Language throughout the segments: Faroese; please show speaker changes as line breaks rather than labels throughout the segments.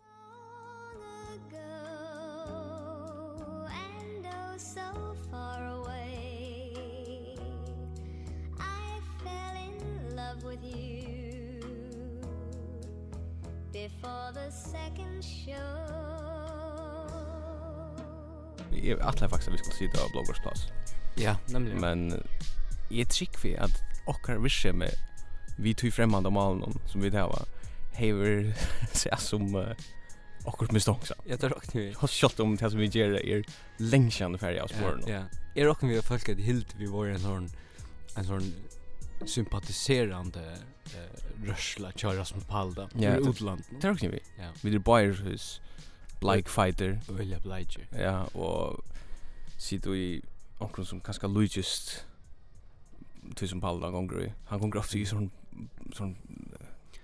oh, with you before the second show
Jag atlar faktiskt att vi skulle sitta av bloggers plats.
Ja, nämligen.
Men eh, jag tycker vi att åkar visse med vi tog främmande malen som vi där var. Hever ser som uh, åkar misstångsa.
Jag tar rakt nu.
Har skott om det som vi gör är längskande färg av spåren.
Ja. Är rakt vi har folk att hilt vi var en sån en sån sympatiserande eh, rörsla köra som palda
Ja, det-
i utlandet.
Det är också vi.
Ja.
Vi är buyers like fighter.
Vilja Bliger.
Ja, och sitter i omkring som ganska lugist tusen pallar gånger i. Han gånger ofta i sån sån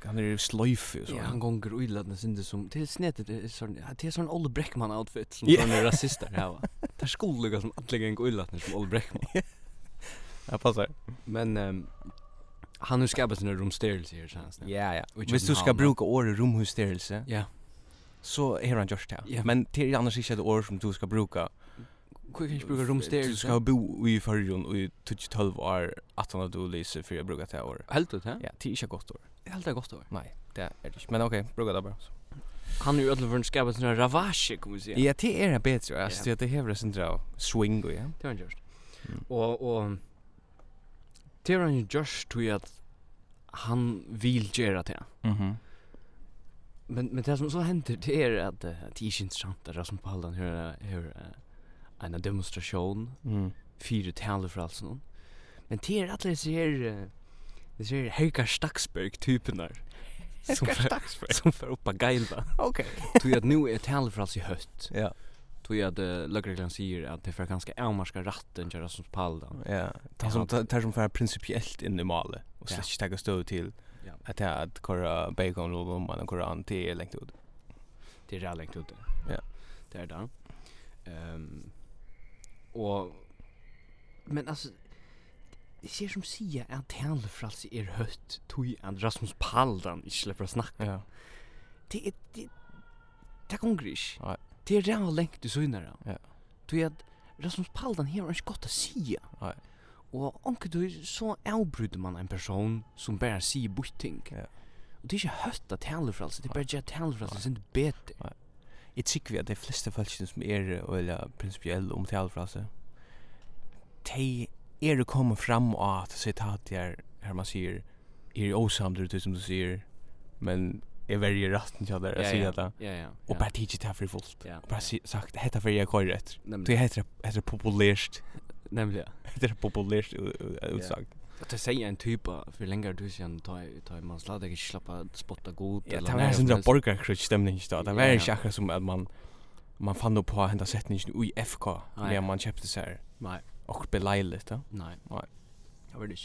han är slöjf så.
Ja, han gonger uiladna sindi som til snedet det er sånn ja, det er sånn Olle Breckman outfit som
Ja.
yeah. sånne rasister hava. Det er skolluga som alle geng uiladna som Olle Breckman.
Ja, passar.
Men um, han har skapat sina rumsterelse her, kjennes det.
Ja, ja.
Och i
Hvis du ska
Köpenhamn.
bruka året rumhysterelse
Ja.
så är han just det.
Ja.
Men det är annars inte ett år som du ska bruka.
Hvor kan ikke bruka rumsterelse?
Du ska bo i förrjun och i 12 år 18 att du läser för jag brukar det här året.
Helt ut, ja?
Ja, det är inte ett gott år.
Helt det godt år.
Nej, det är det inte. Men okej, bruka det bara. Så.
Han er jo ødelig for en skapat sånne ravasje, kan vi si.
Ja, det är en bättre. Alltså det häver sin dra swing och ja.
Det var han gjørst.
Mm.
Og, og, det var han gjørst tog at han vil gjøre det.
Mhm.
Men, men det som så hender, det er at eh, det er ikke interessant at Rasmus Paldan hører, hører eh, en demonstrasjon,
Mm.
fire taler for alt sånn. Men det er alle disse her, eh, disse her Helgar Staksberg-typene her. Som fer- Som får oppa geila.
Okej.
Tog at nu er taler for alt i høtt.
Ja.
Tog at uh, Løgreglan sier at det får ganske avmarska ratten til Rasmus Paldan.
Ja. Det som
Ja.
tar som för principiellt in i målet och
Ja.
släpps ta stöd till
Ja.
att det är att köra bacon och man och köra anti längt ut.
Det er lengt ute.
Ja.
Det er det. Ehm og men altså det ser som sier at talefrals er høtt tog at Rasmus Paldan ikke slipper å snakke.
Ja.
Det er det det konger ikke.
Nei.
Det er det han lengt du søgner av.
Ja.
Tog at Rasmus Paldan har ikke godt å si.
Nei.
Og anker du så avbryter man en person som bare sier butting.
Ja.
Og det er ikke høtt at talefrals, det er
Nei.
bare at talefrals
Nei.
er sin bedre.
Jag tycker vi att de flesta folk som är eller principiella om talfraser. De är det kommer fram och att citat här här man säger är osamdur du som du säger men är väldigt rätt inte där jag säger det. er-
Ja, ja.
Och bara teach det här för fullt.
Ja.
Och bara si- sagt detta för jag kör rätt. Det
Nemlig.
heter heter populärt.
Nemlig.
Det är populärt er u- u- utsagt.
Att jag säger en typ av för länge du sen ta ta man sladd jag slappa spotta god
Ja, det var en sån där borgarkrutch stämning inte då. Det var
Ja,
en
ja.
schakra som att man man fann upp på hända sättningen i FK
Nej.
när man köpte så här
Nej,
och belejligt då.
nej.
Nej.
Jag vet inte.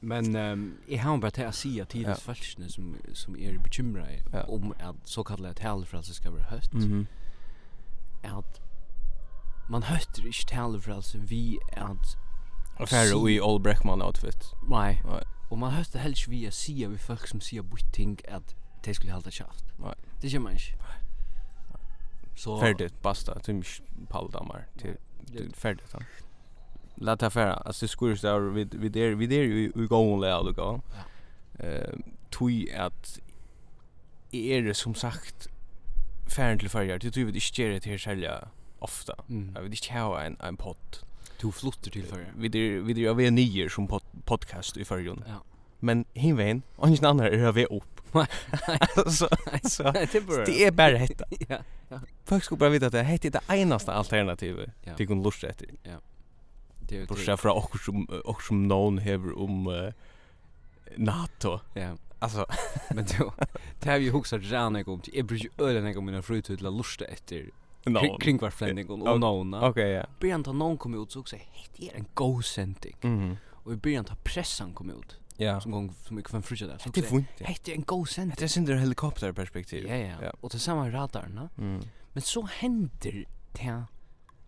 Men ehm jag har bara att säga till
Ja.
de falskna som som är bekymrade
Ja.
om att så kallade talfraser ska vara hött.
Mhm.
Att er man hötter inte talfraser vi att
Och färre i All Breckman outfit.
nej.
Nej.
Och man hötter helst vi att säga vi folk som säger butting att det skulle hålla käft.
Nej.
Det gör man inte. Så
Färdigt basta till paldammar till
Det-
färdigt då. Låt det färra. Alltså det skurrs där vid vid där vid där ju i gång lära du gå. Eh tui att är det som sagt färden till färjar. Det tror vi det sker det här sälja ofta.
Mm.
Jag vill inte ha en en podd.
Du flutter til for
Vi det vi det av en nyer som pod- podcast i förrjun.
Ja.
Men hin vem, och ingen annan är över upp. så så
Det er bare
det är bara detta.
Ja.
Folk skulle bara veta att det här är det enda alternativet.
Ja.
Det kunde lusta efter.
Det er
Bortsett från och som och som någon häver om eh, NATO.
Ja.
Alltså
Men du, det har vi huxat rann jag kom till. Jag brukar öle när jag kommer fru till la lusta efter
någon.
kring vart fländing och
Ok-
nåna.
Okej, ja.
Början ta någon kom ut så också hett är en go sending.
Mhm.
Och i början ta pressan kom ut
Ja.
som gång som jag kan fruja där. Så
Det är
också,
fint.
hett är en go
Det är
sending.
synd ur helikopterperspektiv.
Ja ja.
Ja.
Och det samma radarna.
Mm.
Men så händer det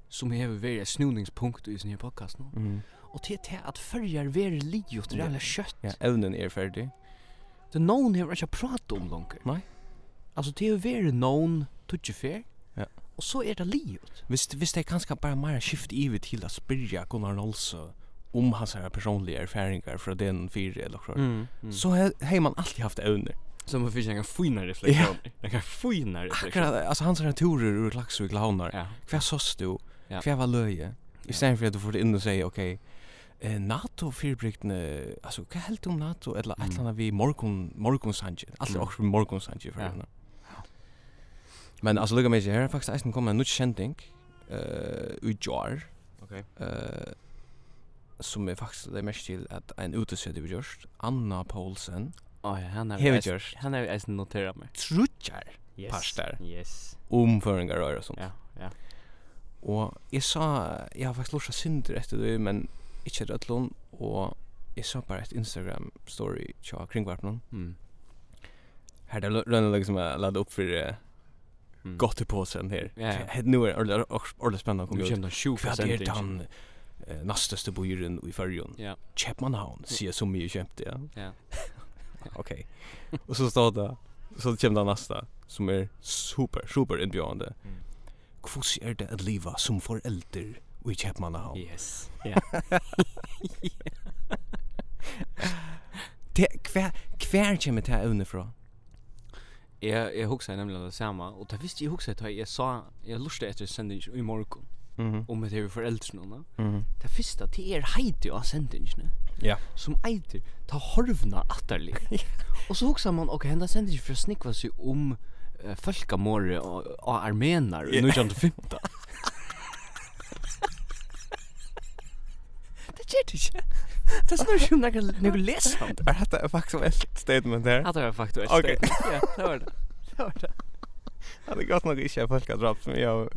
som har varit ett snurningspunkt i sin här podcast nu.
Mhm.
Och det är det att följa ver livet det
Ja.
är kött.
Ja, evnen är färdig.
Det någon har inte pratat om longer.
Nei.
Alltså det är väl någon tutje fair.
Ja.
Och så är det livet.
Visst visst det är kanske bara mer skift i till att spyrja Gunnar Olsson om hans här personliga erfarenheter från den fyra eller så.
Mm. mm.
Så he- har man alltid haft evne.
som man fick en finare reflektion. En kan finare reflektion.
Akkurat, alltså hans här turer ur Laxvik Launar.
Ja.
Hva sås du?
Ja.
Hva var løye?
Ja.
I stedet for at du får det inn og sier, ok, eh, NATO fyrbrygtene, altså, hva held du om um NATO? Eller et
Mm.
eller annet vi morgon, morgonsanji, alt
Mm.
er også morgonsanji for
Ja.
henne. Men altså, lukka meg ikke, her er faktisk eisen kommet en nytt kjending, uh, ui jar,
Okej.
eh, som er faktisk det mest til at en utesøde vi gjørst, Anna Poulsen,
Ja, han är
hever gjørst,
Han är ens notera mig.
trutjar
Yes.
Parstar.
Yes.
omføringar og sånt.
Ja, ja.
Og jeg sa, jeg har faktisk lort seg synder etter det, men ikke etter ætlån, og jeg sa bare et Instagram-story tja kringvarpnån.
Mm.
Her det er lønne liksom jeg ladde opp for uh,
mm.
godteposen her.
Ja, ja.
Her- Nå er det ordentlig spennende å
Nu
komme ut.
känner sjuk
Hva er det han eh, nasteste bojuren i fyrjon?
Ja.
Kjepmannhavn, sier så mye kjempte, ja.
Ja.
Ok. Og så står det, så kommer det neste, som er super, super innbjørende.
Mm.
Hvordan er det å leve som forelder i Kjepmannhavn?
Yes. Ja.
Det kvär kvär kommer det här underifrån.
Jag jag huxar nämligen det samma och det visste jag huxar att jag sa jag lustade efter sändningen i morgon
Mhm.
om att det är föräldrarna.
Mhm.
Det första till er heiter av sändningen.
Ja.
Som eiter ta horvna atterlig. och så huxar man och hända sändningen för att snickva sig om uh, folkamorre och, och armenar
Ja.
i 1915. det gör det inte. Det snurrar ju om några- några läsande.
Är detta ett faktuellt statement här?
Ja, det var faktiskt.
Okej.
Ja, det var det. Det var det.
Det går nog inte folk att droppa men jag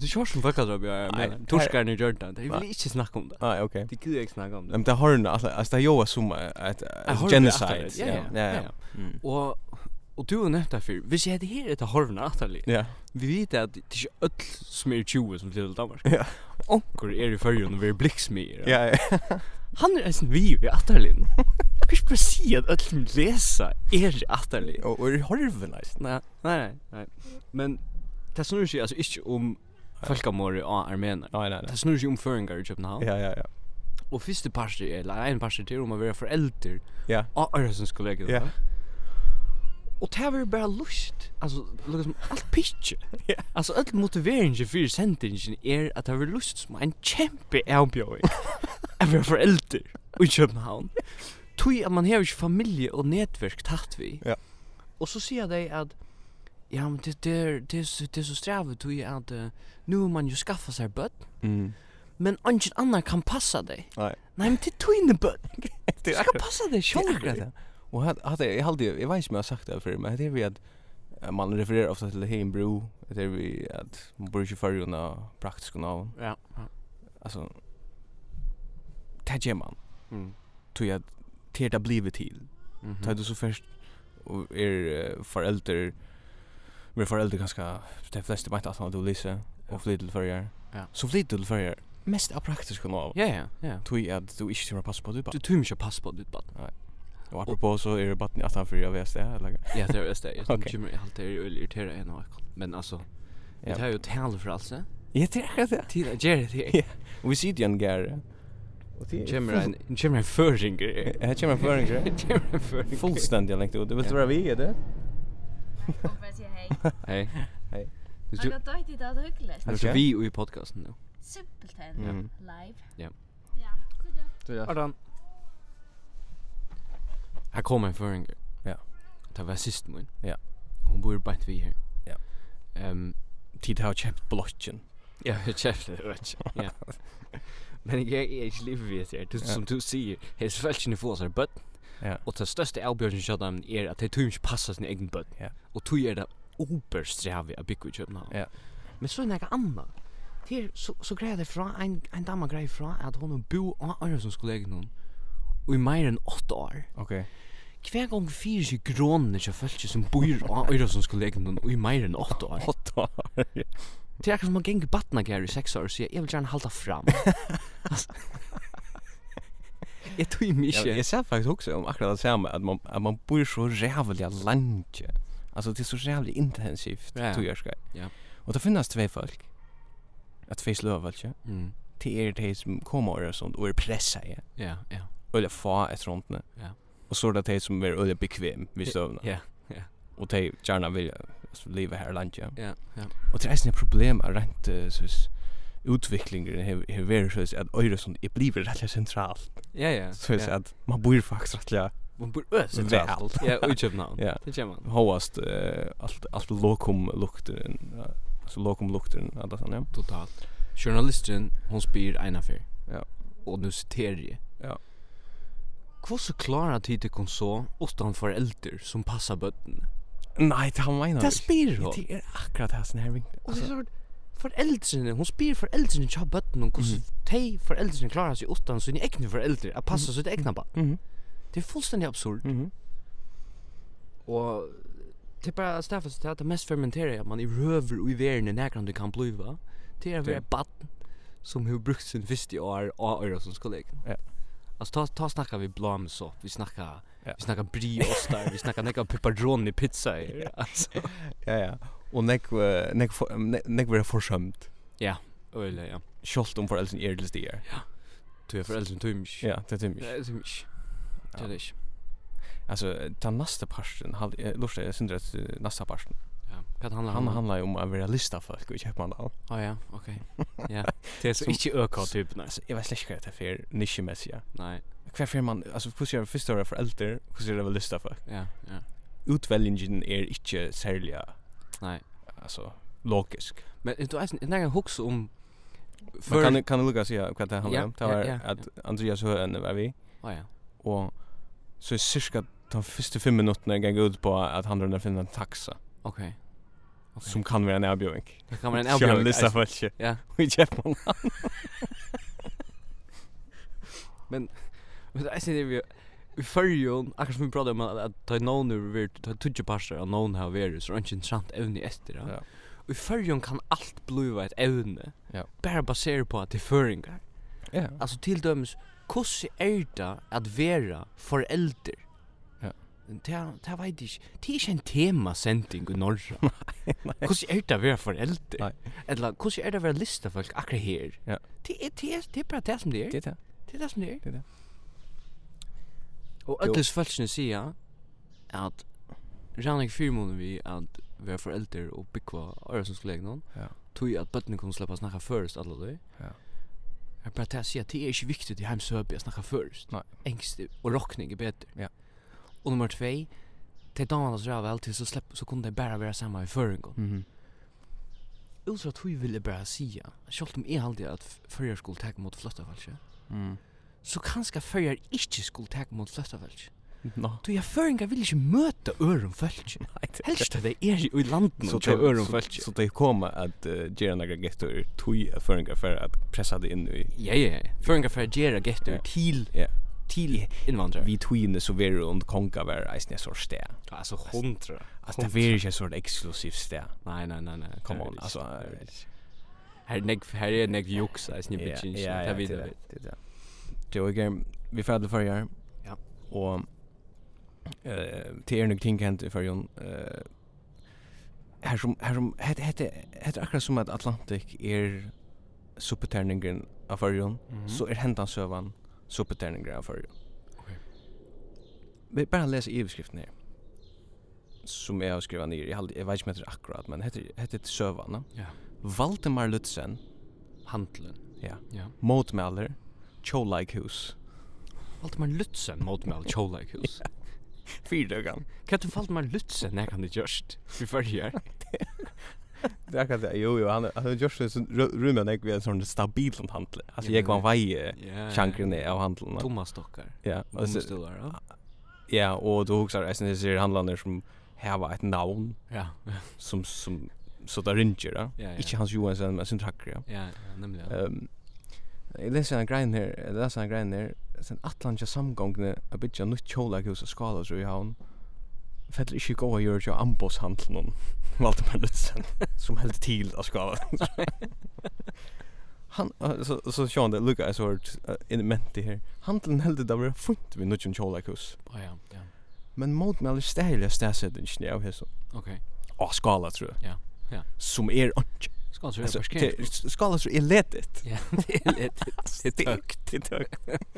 Du kör som folkadrab, ja, ja,
Nei,
men torskar ni gjør det. Jeg vil
Nei.
ikke snakke om det.
Nej, okej.
Det gud jeg ikke snakke om det.
Men det har en alltså det gör som ett
Jeg har det
genocide.
atterlig, Ja, ja, ja.
Mm.
Og, og du er nødt derfor, hvis jeg det her er etter horvene atterlig,
Ja.
vi vet at det er ikke ødel som er 20 som flyttet til Danmark.
Ja.
Onker er i førjen og vi er blikksmier.
Ja. ja.
Han er eisen vi i atterlig. Kan ikke bare si at ødel som leser er atterlig.
Och och det har väl nice.
Nei, nei, nei, nei. Men det snurrer seg altså ikke om folkamordet av armener.
Nej, nej,
Det snurrer seg om føringer i København.
Ja, ja, ja.
Og første parster, eller en parster til om å være forelder
Ja.
av Øresens kollega.
Ja.
Og det var jo bare lust. Altså, lukket som alt pitje.
Ja.
Altså, alt motiveringen for sendingen er at det var lust som en kjempe avbjøring. Jeg var forelder i København. Tui at man har jo ikke familie og nedverk tatt vi.
Ja.
Og så sier de at Ja, men det, det, er- det, er så- det er så strevet tui at uh, nu har man jo skaffa seg bøtt,
Mm.
men ingen annan kan passa deg.
Nej.
Nei, men det er tuine bøtt.
Det
Du
är
skal passa deg själv.
akkurat det. Och hade hade jag hade jag vet inte om jag har sagt det för men det är vi att er eh, man refererar ofta till Heimbro, det är vi att man borde ju förrjuna praktiskt kunna
Ja.
alltså tagge man tror jag till det blivit till.
Mm.
Tar du så först och är eh, förälder med förälder ganska de flesta vet att du lyser och flyttar till förjar.
Ja.
Så flyttar du till förjar. Mest av praktiskt kunna av.
Ja, ja, ja.
Tror jag att du inte ska passa på det bara.
Du tror inte pass på ditt bad.
Och apropå så är det bara att han förjar vet det eller.
Ja, det är just det. Jag
Okej.
tycker mig allt är irriterande en och Men alltså, det här är ju tal för alltså.
Ja, det är det.
Till att göra det.
Ja. Och vi sitter ju en gär. Och det er
Kommer en kommer en förringer.
Här kommer en förringer.
Kommer en förringer.
fullständigt längt ut. Det vill
Ja.
vara vi är det.
Kompensje, hei.
Hej.
Hei.
Hvis
Har
du
du døyt i dag hyggelig?
Alltså
Okej.
vi och i podcasten nu.
Simpelthen.
Mm.
Live.
Ja.
Ja, god dag.
Ardan. Här kommer en förringer.
Ja.
Det var sist min.
Ja.
Hon bor bara vi här.
Ja.
Ehm
Tid har köpt blocken.
Ja, jag käftar det rätt. Ja. Men er jag är inte liv vet jag. Det
Ja.
som du er säger, his fashion får sig bud.
Ja.
Och det största Albjörn Shadam är att det tror inte passar sin egen bud.
Ja.
Och tog är det obersträvig att bygga i Köpenhamn.
Ja.
Men er så är det något annat. Det är så, så grejer det från, en, en damma grejer från att hon bo av Arjusons kollega någon. Och i mer än åtta år.
Okej.
Hver gång fyra sig grånene till folk som bor av Arjusons kollega någon och i mer än åtta år.
Åtta år.
Det är akkurat som man gänger battna gär i sex år så jag, jag vill gärna halta fram. Alltså, jag tog mig
Jag,
inte.
jag ser faktiskt också om akkurat detsamma att man att man bor så jävla länge. Alltså det är så jävla intensivt
Ja, ja.
tror jag ska.
Ja.
Och det finns två folk. Att två slöv alltså.
Mm.
det är det som kommer och sånt och är pressa ja.
Ja, ja.
Eller få ett sånt nu.
Ja.
Och så är det det som är öle bekväm vid stövna.
Ja,
Och det gärna vill alltså, leva här i landet. Ja.
ja, ja.
Och det är ett problem att rent eh, så utvecklingen har har varit så att Öresund är blivit rätt er centralt.
Ja, ja.
Så
ja.
att man bor faktiskt rätt
Man bor ö centralt.
väl.
Ja, och i Köpenhamn.
Ja.
Det känner man.
Hoast eh, allt allt lokum lukten. Alltså lokum lukten alla sån ja.
Totalt. Journalisten, hon spyr en affär.
Ja.
Och nu citerar jag.
Ja.
Hur så klarar tid till så utan förälder som passar bötten?
Nej, det har menar.
Det spyr hon.
Det är er akkurat här sån här vinkel.
Och det är såhär, foreldrene, hon spyr foreldrene til bøtten
Mm.
om hvordan de foreldrene klarer seg utan sine egne foreldre at passa sitt egna barn.
Mhm.
Det er fullstendig absurd.
Mhm.
Og det er bare stafest til at det mest fermenterer at man i røver og i verden er nærkant du kan er bliva til å være
Det- er-
barn som har brukt sin første år av øra som skal leke.
Ja.
Altså, ta, ta snakka vi blamsopp, vi snakka,
Ja.
vi snakka briostar, vi snakka nekka pepperoni pizza her, altså.
Ja, ja. Og nek eh, nek for- nek nek vera forsømt.
Øyla, ja.
Skolt om foreldrene er til stier.
Du er foreldre som tøymsk.
Ja, det er tymisk.
Det er tøymsk. Det er det ikke.
Alltså den nästa parten hade Lorsa jag syndrar att eh, nästa parten.
Ja, kan handla
Han handlar um ju om att vara lista folk och köpa man all.
Ja, ja, okej. Ja. Det är så
Som-
inte öka typ nej.
Alltså jag vet släcker det för nischmässiga.
Nej.
Kvar för man alltså er hur ser första året för äldre hur ser det väl lista folk.
Ja, ja.
Utväljningen är inte särliga
Nej.
er alltså logisk.
Men du er är när jag huxar om
Man kan kan Lucas säga vad det handlar
Ja,
om. Det
ja,
var
ja,
att Andreas Höen var vi
Ja, ja.
och så är er cirka de första fem minuterna jag går ut på att han drar finna en taxa
Okej. Okej.
som kan vara en erbjudning.
Det kan vara en
Så han
elbjörn.
listar
alltså.
folk
Ja.
och köper man.
Men det är sen vi i förjon, akkurat som vi pratade om att att ta någon nu vart ta tutje passer och någon har varit så inte sant ävne efter det.
Ja.
Och i förjon kan allt bliva ett ävne.
Ja.
Bara baserat på att det er är föringar.
Ja.
Alltså till dömes hur är det att vara förälder?
Ja.
Det det vet jag inte. Det är inte en tema sändning i norra. Hur är det att vara förälder?
Nej.
Eller hur är det att vara lista folk akkurat här?
Ja.
Det är det är det är bara det som det är.
Det är det.
Det är det som det er. är.
Det är det.
Och
Jo.
ödles falskne säga att Jannik Fyrmonen vi att vara förälder och bygga Öresundskollegion någon.
Ja.
Tog att bötten kunde släppa snacka först alla då.
Ja.
Jag bara tänkte säga att det är inte viktigt i hemsöp jag snackar först.
Nej.
Ängst och rockning är bättre.
Ja.
Och nummer två, till dagarna så väl till så släpp så kunde det bara vara samma i förrgår.
Mhm.
Ultra att vi ville bara um säga, själv om jag alltid att förrgår skulle ta mot flötta falske,
Mm.
så kanske förrgår inte skulle ta mot flötta falske.
Nå.
Du jag förrgår vill inte möta öron falske. Helst att det er är i landet
Så
och till öron
så,
falske.
så det kommer att uh, göra några gettor tog förringar för att pressa det in i
Ja, ja, ja. Förrgår för att göra getter
Ja.
till,
Ja.
till invandrare.
Vi tog in det så vi runt konka var eisne så stä.
Alltså hundra.
Alltså det var ju så exklusivt stä.
Nej, nej, nej, nej.
Come
Det
on,
är-
alltså,
det är-
eh,
Här är nägg här är nägg jox, är snipp bitch. Ja, ja,
det
ja.
är det. Jo, igen, vi födde förra
Ja.
Och eh till er nog ting hänt i förrjon. Eh här som här som hette hette hette akkurat som att Atlantic är superterningen av förrjon.
Mhm.
så er hendan søvan suppeterninger av fyrir.
Okej.
Vi bara lesa iverskriften her, som jeg har skriva nir, jeg, halde, jeg vet ikke om det er akkurat, men hette, hette søvan.
Ja.
Valdemar Lutzen,
Handlen.
ja,
Ja.
motmæler, Tjolaikhus.
Valdemar Lutzen mot mig Cholakus.
Fyrdøgan.
Kan du er Valdemar Lutzen er när kan det just? Vi förger.
Det er akkurat det, jo, jo, han har gjort det som rummet jeg ved en sånn stabil handel. Altså, jeg var vei
Ja.
sjankrene av handelen.
Thomas Stockar.
Ja,
Thomas
altså,
Stockar. ja.
ja, og du husker, jeg synes, det er handlander som heva et navn,
Ja.
som som så där ringer då.
Ja, ja.
Inte Hans Johansson men sin tracker. ja.
Ja, ja, nämligen. ja.
Ehm Jag läser en grein här, jag läser en grein här. Sen Atlanta samgångne a bitja nytt kjola hos og skala så i havn. Fettel ikke gå og gjøre jo ambos handel noen Valdemar Lutzen som held til av skala. Han, eh, så, så sjå han det, lukka jeg så hørt eh, in menti her. Handelen held det var funt vi nuttjon kjola hos.
Ja, ja, ja.
Men motmelder stærlig stærsettingsen av hesson.
Okej.
Å, skala tror jeg.
Ja, ja.
Som er ikke
Skal så
Alltså,
göra
det-
parkering.
s- skala er så är ledigt.
Ja, det
er
är lätt.
Det är högt. Det är högt.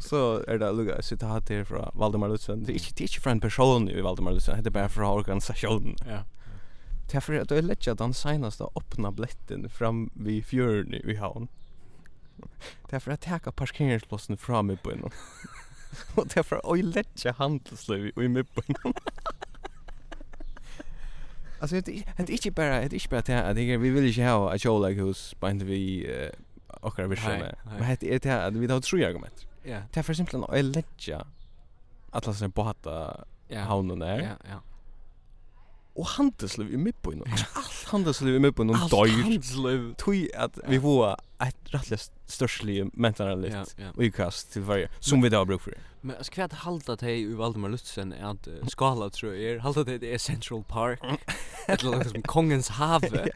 Så är det lugga citat här från Valdemar Lutzen. Det är inte, det är inte från en person i Valdemar Lutzen. Det är bara från organisationen.
Ja.
Därför att jag lägger den senaste öppna blätten fram vid fjörden i havn. er Därför att jag tar parkeringsplatsen fram i början. Och därför att jag lägger handelslöv i mitten. Alltså det det är inte er bara det är inte bara det att jag vi vill inte ha ett showleghus på inte vi och vi
Nei,
ska.
nei.
Men det är det att vi har tre argument. er
Ja.
Det är för simpelt att jag lägger alla sina på hatta
Ja.
havnen där
Ja, ja.
og handelsliv i middbøyna. Allt handelsliv i middbøyna
Allt
døyr.
handsløv.
Tui at vi får et rettelig størstlig
Ja,
mentanalikt
ja.
og ikast til hverje, som vi da har bruk for.
Men alltså kvad halda tei i Valdemar Lutzen er at eh, skala tror jeg er halda tei det er Central Park
Mm.
eller noe som Kongens Have.
Det er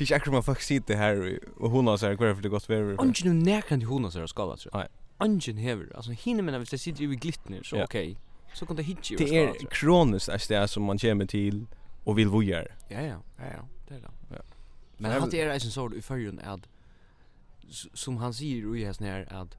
ikke akkurat man faktisk sitter her og- og hun har seg hver for det godt vever.
Ungen nu nærkant i hona seg skala tror
Nei.
jeg. Ungen hever, altså hinne menna hvis det sitter jo i glitner, så
Ja.
ok. Så kan det hitje
Det er kroniskt et sted som man kommer til og vil vojer.
Ja, ja, ja, ja, det er det.
Ja.
Men
Så
han
er-
det er eisen sår i fyrjun at, s- som han sier i hessen her, at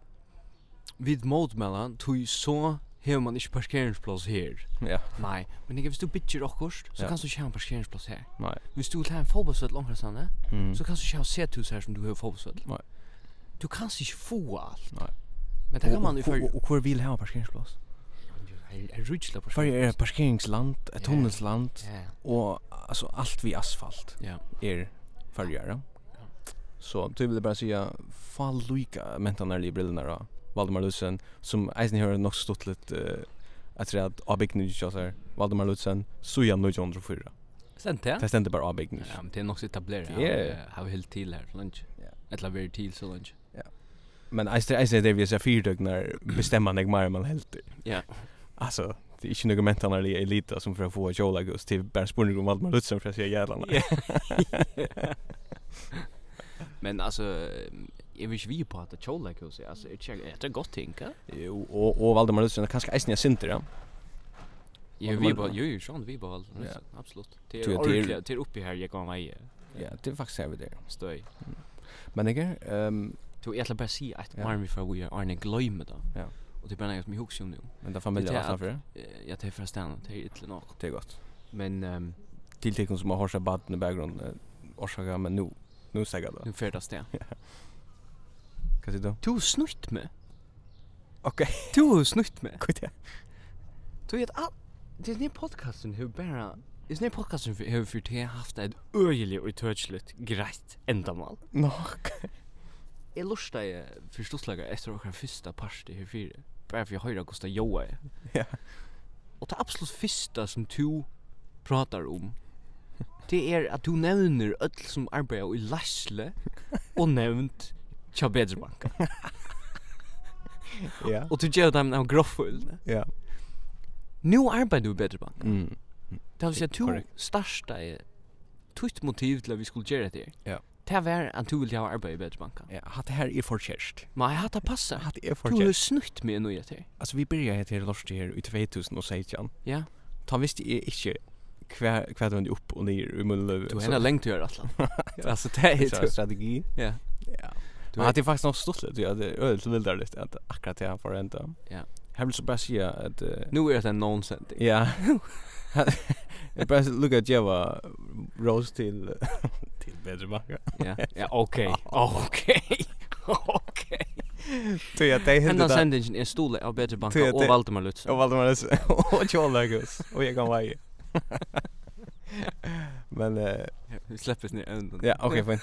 vid motmellan, tog så hever man ikke parkeringsplass her.
Ja,
Nei, men ikke hvis du bitcher okkurst, så
Ja.
kan du ikke ha en parkeringsplass her.
nei.
Hvis du vil ha en fotbollsvett langt sanne,
Mm.
så kan du ikke ha sethus her som du har fotbollsvett.
Nei.
Du kan ikke få alt.
Nei.
Men det kan man i
Og-
fyrjun.
og- Og hvor vil ha parkeringsplass?
Jeg rydsla på
Hverje er et parkeringsland, et
Ja.
tunnelsland,
Ja,
og altså alt vi asfalt.
ja.
er fargare. Så du ville bara säga fall lika mentan när brillorna då. Valdemar Lutzen som eisen hör nog stått lite uh, jag tror att Abig nu jag säger Valdemar Lutzen så jag nu John Rufura.
Sent det?
Det ständer bara Abig nu.
Ja, men det er nok så etablerer.
Det
Det
er-
er... Har vi helt til her, så lunch.
Ja.
Etla veri til, så lunch.
Men eisen eisen er det vi ser fyrdögn när bestämmer mig mer än man helt.
Ja.
Alltså det er är inte några mentan när det är lite som för att få Joe Lagos till bara spurning er om Valdemar Lutzen för att säga jävlarna.
Ja. Men alltså, jeg vil ikke vi på at det kjola kjose, altså, er ikke, er det godt ting, ja?
Jo, och och Valdemar Lutzen kanske eisen jag synter ja.
Jeg
Og
vi
det var-
på, jo, jo, sånn, vi på, alt,
Ja.
absolutt. Det
Du
er
er-
ordentlig, det er oppi her, jeg kan vei
Ja,
er
det är faktiskt jag vet det.
støy.
Men jag ehm
Du, jeg ætla bare si at
Ja.
Marmi fra vi er Arne gløyme da.
Ja.
Og det er bare nægget som jeg husker om nu.
men det familjen
Det er
alltså för det.
Eh, Ja, det er fra stedet, det er ytlig nok.
Det är gott.
Men, ehm,
till till som har hörsat baden i bakgrunden eh, orsaka men nu nu säger jag det.
nu fyrir det sted.
Kan du då?
Du har snutt med.
Okej.
Du har snutt med.
Kvitt det.
Du vet all Det er nye podcasten har bare Det er nye podcasten har har for til haft et øyelig og utørsligt greit endamal
Nå.
Jeg lurer jeg for storslaget etter åkere første parste her fire Bare for jeg høyre hvordan joa er
Ja.
Og det absolutt første som du pratar om Det er at du nevner öll som arbeider i Lasle Og nevnt Tja Bedrebanka
Ja.
Og du gjør dem av grovfullene
Ja.
Nu arbeider du i Bedrebanka
Mm.
Det vill säga
Det-
du
korrekt.
starta i tvitt eh, motiv till att vi skulle göra det.
Ja.
Det er. var att du vill ha arbete i Bätterbanken.
Ja, hat det er här är för kärst.
Men jag hade passat.
Hat det är för
Du har
kärst.
snutt mig nu till.
Alltså er vi börjar heter det Lars det här i 2016.
Ja.
Ta visst är inte kvar kvar vänd upp och ner i munnen.
Du har henne längt att göra Atlan. Alltså det är
är
ju.
strategi.
Ja.
er Ja.
Du
Men
har
hade faktiskt något stort lite. Jag hade öl så vildare lite att akkurat det här får ända.
Ja.
Här vill så bara säga att eh,
nu är det en nonsens.
Ja. Jag bara look at Java rose till till bättre backa.
Ja. Ja, okej. Okej. Okej.
Så jag det
Hennes
hände där.
sendingen är stolen av
Du
Bätterbanken
vet
och
det-
Valdemar Lutz.
Jag valde mig och jag läggs och jag kan vara. i. Men eh
Vi släpper ner änden.
ja, okej fint.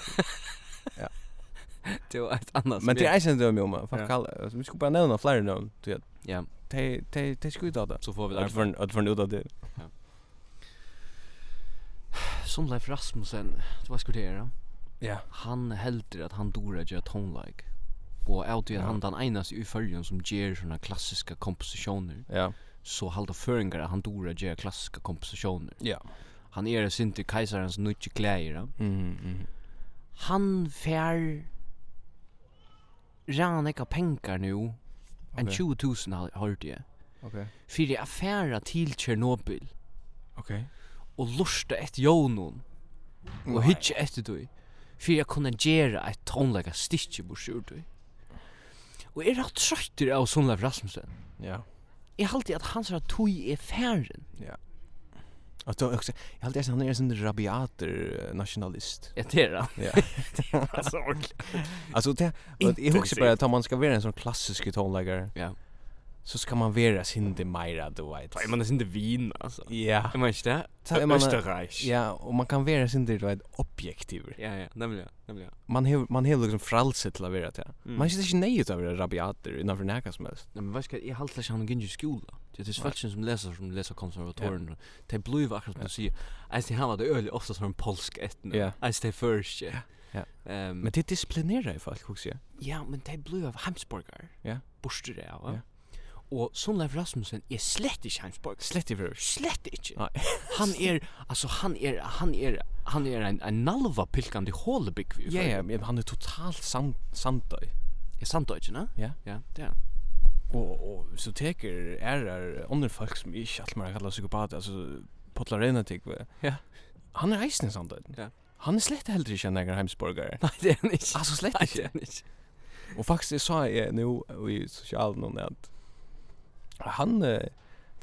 Det var ett annat.
Men det er
spel.
är sen då med om
Ja.
fuck kall. Vi skulle bara nämna fler namn. Du vet,
Ja.
det det det skulle ta det.
Så får vi
Att
det.
för att för ut av det.
Som Leif Rasmussen. Det var skortera.
Ja.
han heldur at han dora gjør tonelike og av til at
Ja.
han den einaste i fyrjun som gjør sånne klassiska komposisjoner
Ja.
så halda føringar at han dora gjør klassiska komposisjoner
Ja.
han er sin til keiserens nutje klæger
Mm. mm.
han fær rann ekka pengar nu en
Ok.
20.000 har hørt jeg
Okej.
fyrir affæra til Tjernobyl
Okej.
og lusta etter Jonon og
Nei.
hitje etter du för jag kunde göra ett tonlägga stitch på sjurtu. Och är rätt trött er av Sonleif Rasmussen.
Ja.
Jag har alltid att han sa tog är färden.
Och då också, jag hade han är en sån rabiater eh, nationalist.
Jag tera.
Ja.
Alltså ordentligt.
Alltså det och jag husar bara att om man ska vara en sån klassisk tonläggare
Ja.
så ska man vara sin de Myra the White.
Jag menar det är inte vin alltså.
Ja.
Jag menar inte det.
Ta- jag menar-
Österreich.
Ja, och man kan vara sin de White objektiv.
Ja, ja, nämligen, nämligen.
Man har man har liksom fralset till att vara det.
Mm.
Man sitter inte nej utav det rabiater innanför näka som helst.
Nej, men vad ska jag halta sig han går i skola. Det är svälchen som läser som läser konservatorien. De blir akkurat som du säger. Alltså han var det öle ofta som en polsk etna.
Ja.
Alltså det först.
Ja.
Ehm
Men det disciplinerar ju folk också. ja.
ja, men de blir av Hamsburger.
Ja.
Borste det av.
Ja.
va? Och Sonleif Rasmussen är slett inte Hamsburger.
Slett i för.
Slett inte.
Nej.
Han är alltså han är han är han är en en nalva pilkande hålebygg.
Ja, ja, men han är totalt sant santöj.
Är sant då inte, ne?
Ja.
Ja, det är han.
Och och så teker är det andra folk som inte allt man kallar psykopat alltså potlar rena tycker vi.
Ja.
Han er är isen sånt.
Ja.
Han är slett heller inte en egen heimsborgare.
Nej, det är han inte.
Alltså slett
Nej, Ah,
inte.
det är han inte.
Och faktiskt jag sa jag nu i socialen någon att han eh,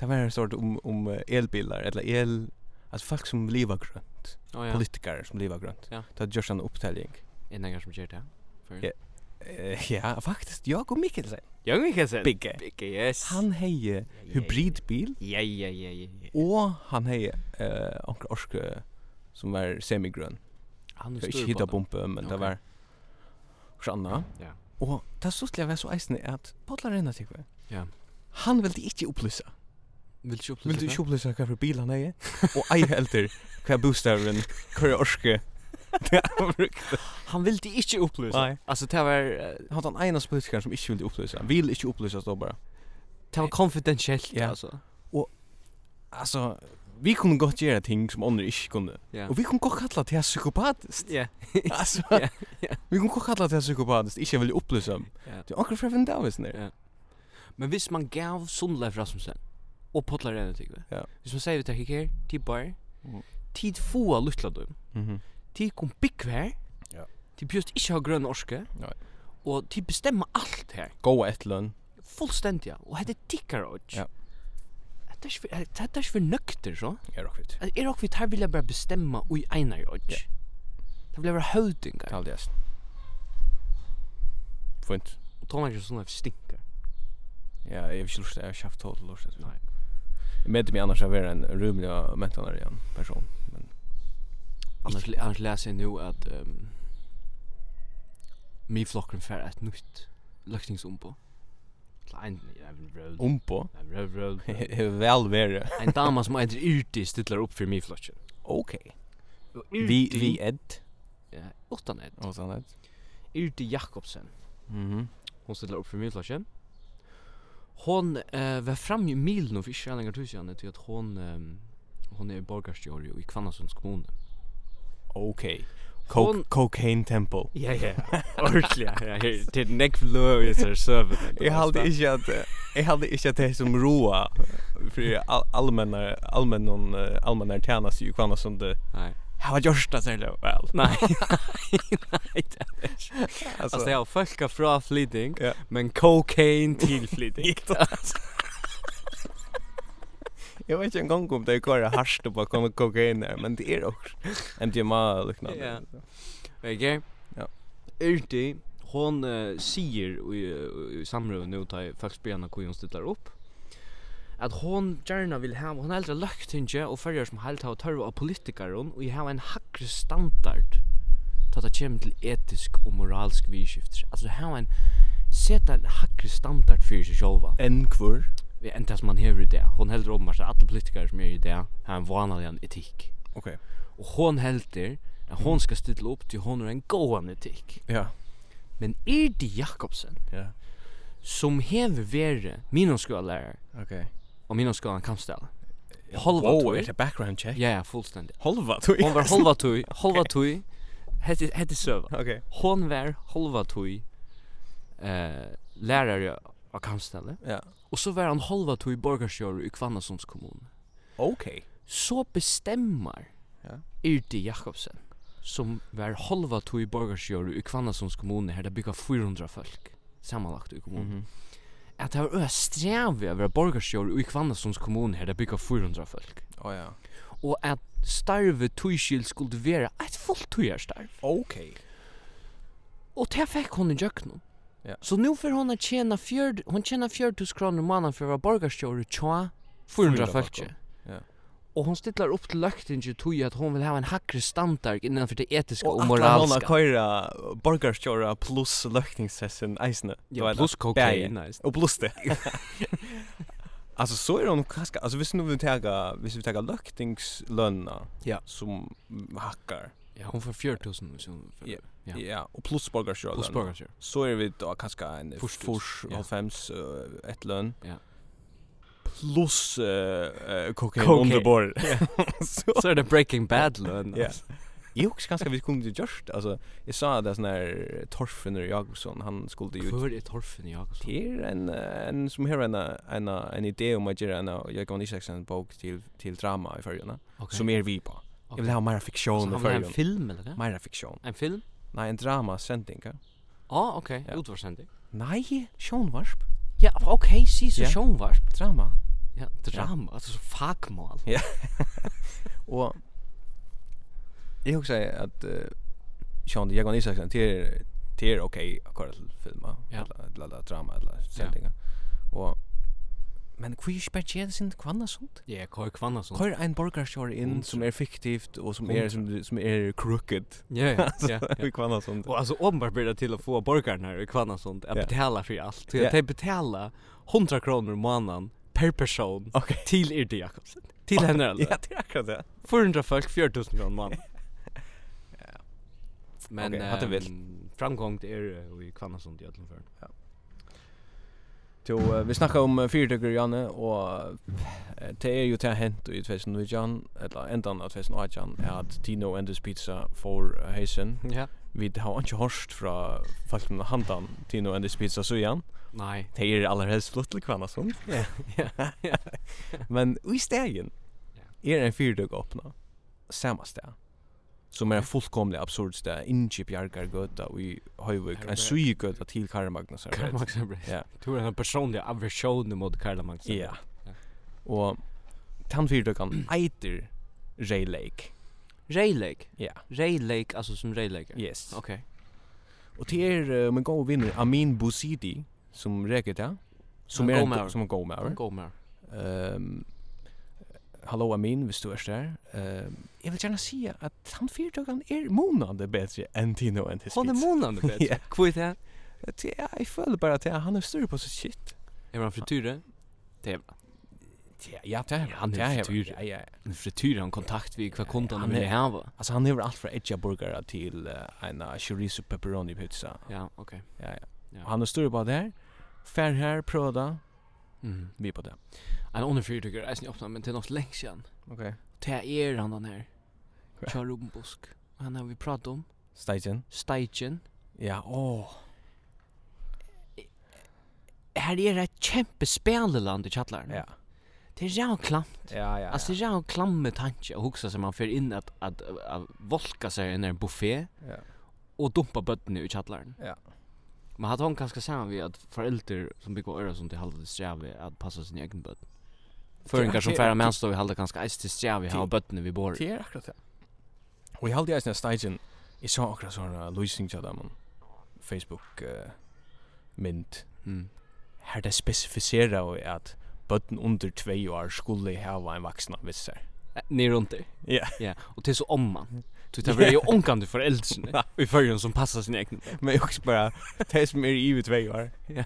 det var en sort om om eh, elbilar eller el alltså folk som lever grönt.
Ja, ja.
Politiker som lever grönt.
Ja.
Det görs en upptäljning.
Är det någon som gör det? För-
Ja. Eh, ja, faktiskt jag och Mikkelsen.
Jag vet inte.
Bigge.
Bigge, yes.
Han hejer hybridbil
Ja, ja, ja, ja. ja.
och han hejer eh onkel Orske som var semigrön.
Han er
Jag inte hitta bombe men det
Okej.
var Janna.
Ja.
Och det slutliga var så eisen att Potlar Rena tycker vi.
Ja.
Han ville inte upplysa.
Vill du köpa
Vill du kjopla seg hva for bil han eier? Og ei helter hva bostavren, hva er orske? er
Han vill det inte upplysa.
Nej.
Alltså det var eh,
Hadde han en av politikeren som ikke ville opplysa. Han vil ikke opplysa, stå bare.
det var confidentiellt
Eh. Ja.
alltså.
Altså, vi kunne godt gjøre ting som andre ikke kunne.
Ja.
Og vi kunne godt kalla til psykopatisk.
Ja.
Altså,
Ja.
vi kunne godt kalla til psykopatisk, ikke ville opplysa.
Ja.
Det er akkurat fra Finn Davis nere.
Men visst man gav Sundleif Rasmussen och Potlar Rena tycker vi.
Ja.
Visst man säger vi tar kicker, tid bar.
Mm.
Tid få luttla du.
Mhm.
Tid kom big här.
Ja.
Tid bjöst inte ha grön orske.
Nej.
Och tid bestämma allt här.
Gå et lønn.
Fullständigt. ja. Och hade tickar och.
Ja.
Det är inte för- det är inte för nökter så.
Ja, rokkvitt.
Att er och vi tar vilja bara bestämma oj einar jag.
Ja.
Det blir bara höldingar.
Kall det jæst. Fint.
Och tonlager såna här stinkar.
Ja, jeg vil ikke lort, jeg har kjapt tål lort.
Nej.
Jeg medde mig annars av være en rymlig og mentanare igjen person. Men
Annars annars läser jag nu att ehm um, mi flocken för ett nytt lökningsombo. Klein en röd.
om på.
En röd röd.
Vel være.
En dama som heter Yrti stillar upp för mi flocken.
Ok. Vi, vi edd.
ja, åttan ett.
Og sånn edd.
Yrti Jakobsen.
Mhm.
Hon stillar upp för mi flocken. Hon eh var fram i milen och fiskar längre tusen till att hon ehm hon är borgarstjord i Kvannasunds kommun.
Ok.
Hon-
Coke, cocaine temple.
Ja, ja. Ordentlig, ja. her- Det er nekk løv i seg søvn.
Jeg hadde ikke at jeg hadde ikke at det er som roa för allmänna allmänna allmänna tjänas ju kvanna som det
Nei.
har gjort det så väl.
Nei, nei, det er det ikke. Altså, det er folka fra flyting,
Ja.
men cocaine til flyting.
Jag vet inte en gång om det är kvar harst på kon kokain där, men det är också en er DMA liknande.
Ja. Ok?
Ja.
Urti, hon uh, sier i, i, i samrøven nå, da folk spyr henne hvor hun stiller opp, at hon gärna vill ha, hon äldre lökt inte och följer som helt har törva av politikaren och ha en hackre standard ta det kommer till etisk och moralsk vidskifter. Alltså ha en sätta en hackre standard för sig själva
En kvör.
än det som man har i det. Hon häller om att alla politiker som är i det har en vanlig en etik.
Okej.
Och hon häller att hon ska ställa upp er till hon har en gåan etik.
Ja.
Men Irdi Jakobsen,
Ja.
som hever vere minonskolalärare
Okej.
och minonskolan kampställa. Halva
Wow,
tui.
er det background check?
Ja, ja, fullständigt.
Halva tog.
Hon var halva tui, halva tui, hette, hette söva.
Okej.
Hon var halva tui eh, lärare av kampställa.
Ja.
Och så var han halva tui borgarsjör i Kvannasunds kommun.
Okej.
Så bestämmer
Ja.
Irdi Jakobsen som var halva tog i borgarsjøret i Kvannasunds kommune her det bygga 400 folk samanlagt i kommunen.
Mhm.
At det var øya strevi å være borgarsjøret i Kvannasunds kommune her det bygga 400 folk.
Å ja.
Og at starvet togskild skulle være et fullt togarstarv.
Okay.
Og det fikk hon i jøknum.
Ja.
Så nu får hon att tjäna fjörd, hon tjänar 4000 kronor i månaden för att vara borgarstjore tja 400
400 folk,
folk.
ja.
Och hon stillar upp till löktinge tog att hon vill ha en hackre standard innanför det etiska och,
Og moralska. Og
moralska.
at køyra borgarstjóra pluss løkningssessin eisne. Du
Ja,
vet
plus
det. Bæði.
kokain. nice.
Og pluss det. Alltså så er är de kaska, alltså visst nu vill ta, visst vi tar löktingslönna
Ja.
som hackar.
Ja, hon får 4000 som för
Ja.
Ja.
Ja, och plus borgarstjóra.
plus borgarstjore.
Så är vi då kanske en
Furs tusen,
fors
ja.
och fems eh, ett lön.
Ja.
Plus eh kokain
Kokain.
under bord. Så
Så är det Breaking Bad lön.
Ja. Jag också ganska vi kunde ju just alltså jag sa att det är sån här Torfner Jakobsson han skulle ju
För är torfen i Jakobsson.
till en eh, en som här en en en idé om att göra en jag kan inte en bok till till drama i förrjuna
Okej.
som er är vi på. Jag vill ha mer
Så
fiktion i
han vill ha en
förrjuna.
er film eller vad?
Mer fiktion.
En film?
Nej, en drama sändning. ja.
Ja, okej.
Ja.
Utvarsendig.
Nej, Seanwarsp.
Ja, okej, si så
Ja.
sjönvarp.
Drama.
Ja, drama, er alltså så fagmål.
Og jeg husker at uh, Sean Jagan Isaksen til til er, ok akkurat til filma
Ja.
eller eller drama eller sendinga. Og men hvor er bare tjene sin kvanna sånt?
Ja, Kåre Kvannason.
Hvor er ein borgarsjår inn
Hundre.
som er fiktivt og som er som, som er crooked
Ja, ja, ja. ja.
i kvanna sånt.
Och alltså om bara blir till att få borgarna i Kvannason att
Ja.
betala för allt. Så
Ja.
att de betala 100 kronor i månaden per person
Okej.
till Irde Jakobsen. Till henne eller?
Ja, det er akkurat det.
400 folk, 4000 kronor i månaden. Men
Okej, hade vilt.
ehm, framgång det är i Kvannason i Ödlenförn.
Jo, eh, vi snakka om eh, fyrtøkker, Janne, og eh, det er jo til hent i 2019, eller endan av 2018, er at Tino Enders Pizza får heisen.
Ja.
Vi har ikke hørt fra folk med um handan Tino Enders Pizza så igjen.
Nej.
Det er aller helst flott til kvann og sånt.
Ja. ja.
Men i stegen er en fyrtøk åpna, samme sted, som er en fullkomlig absurd sted, innskip Bjarkargøta og i Høyvøk, en sygøta til Karl Magnus.
Karl Max
Ja.
Du är en personlig aversion mot Karl Max.
Ja. Og tann fyrtøkan eitir Ray Lake.
Rejlek.
Ja.
Rejlek alltså som rejlek.
Yes.
Okej.
Og til er uh, min gode vinner Amin Bouzidi, som reker det, som
En
er
god maver.
en, som en god maver.
Gå med.
Ehm, Hallo Amin, hvis du er der. Ehm, jeg vil gjerne si at han fyrtøkan er månande bedre enn Tino enn til
Hon är månande vet.
Ja.
Ja. Kvitt här.
Ja, jeg føler bare at han er større på sitt shit.
Är man frityre?
Ja, ja, det er
han er
det
frityr.
Ja, ja.
En frityre han kontakt vi kvar kontan han
han
vill
är-
ha.
Altså, han hever alt fra edja burgere til uh, en uh, chorizo pepperoni pizza.
Ja, okej.
Ja, ja.
Ja.
Og Han er større på det her. Fær her, prøv det.
Mm.
Vi er på det.
En annan frityre är snitt öppna men till något länge sedan.
Ok.
Det är han den här.
Hva?
Kör Rosenbusk. Han har vi pratat om.
Steigen.
Steichen.
Ja, åh.
Här är ett kämpespelland i chatlaren.
Ja.
Det är jävla klamt.
Ja, ja,
Alltså det är jävla klamme tanke att huxa sig man för in att, att, att, volka sig i en buffé
ja.
och dumpa bötten i chatlaren.
Ja.
Men hade hon ganska samma vid att föräldrar som bygger öra som till halva det sträv att passa sin egen böt. Föringar som
det-
färra
det-
män står i halva ganska ens till sträv i halva bötten vid bor.
Det er akkurat det. Og jeg halte jeg sånn Steigen. er Jeg sa akkurat sånne løsning til dem. um, Facebook uh, mynd.
Mm.
Her det spesifiserer jo at bøtten under 2 år skulle hava en vaksna visser.
Äh, Ni runt det.
Ja.
Ja, och till så om man.
Mhm.
Du tar väl ju onkande föräldrar i förrjun som passar sin egen.
Men jeg også bare, det som er i over 2 år,
Jag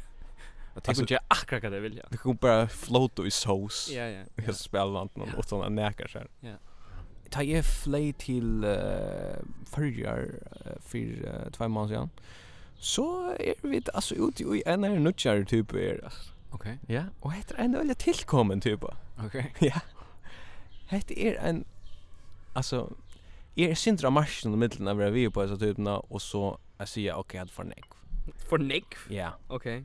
Alltså-
tänker inte akkurat det vill jag.
det kan bare float i sós.
Ja, ja.
i spelanden och utan att näka sig.
Ja.
Ta jag flöj till uh, förrjar uh, för uh, två månader sedan. Så är vi alltså ute i en här nutjar typ är alltså.
Okej.
Ja, och heter en öle tillkommen typ.
Okej.
Ja. Heter är en alltså är syndra marschen i mitten av det vi är på så typerna och så jag säger okej okay, att för neck.
För Nick.
Ja.
Okej.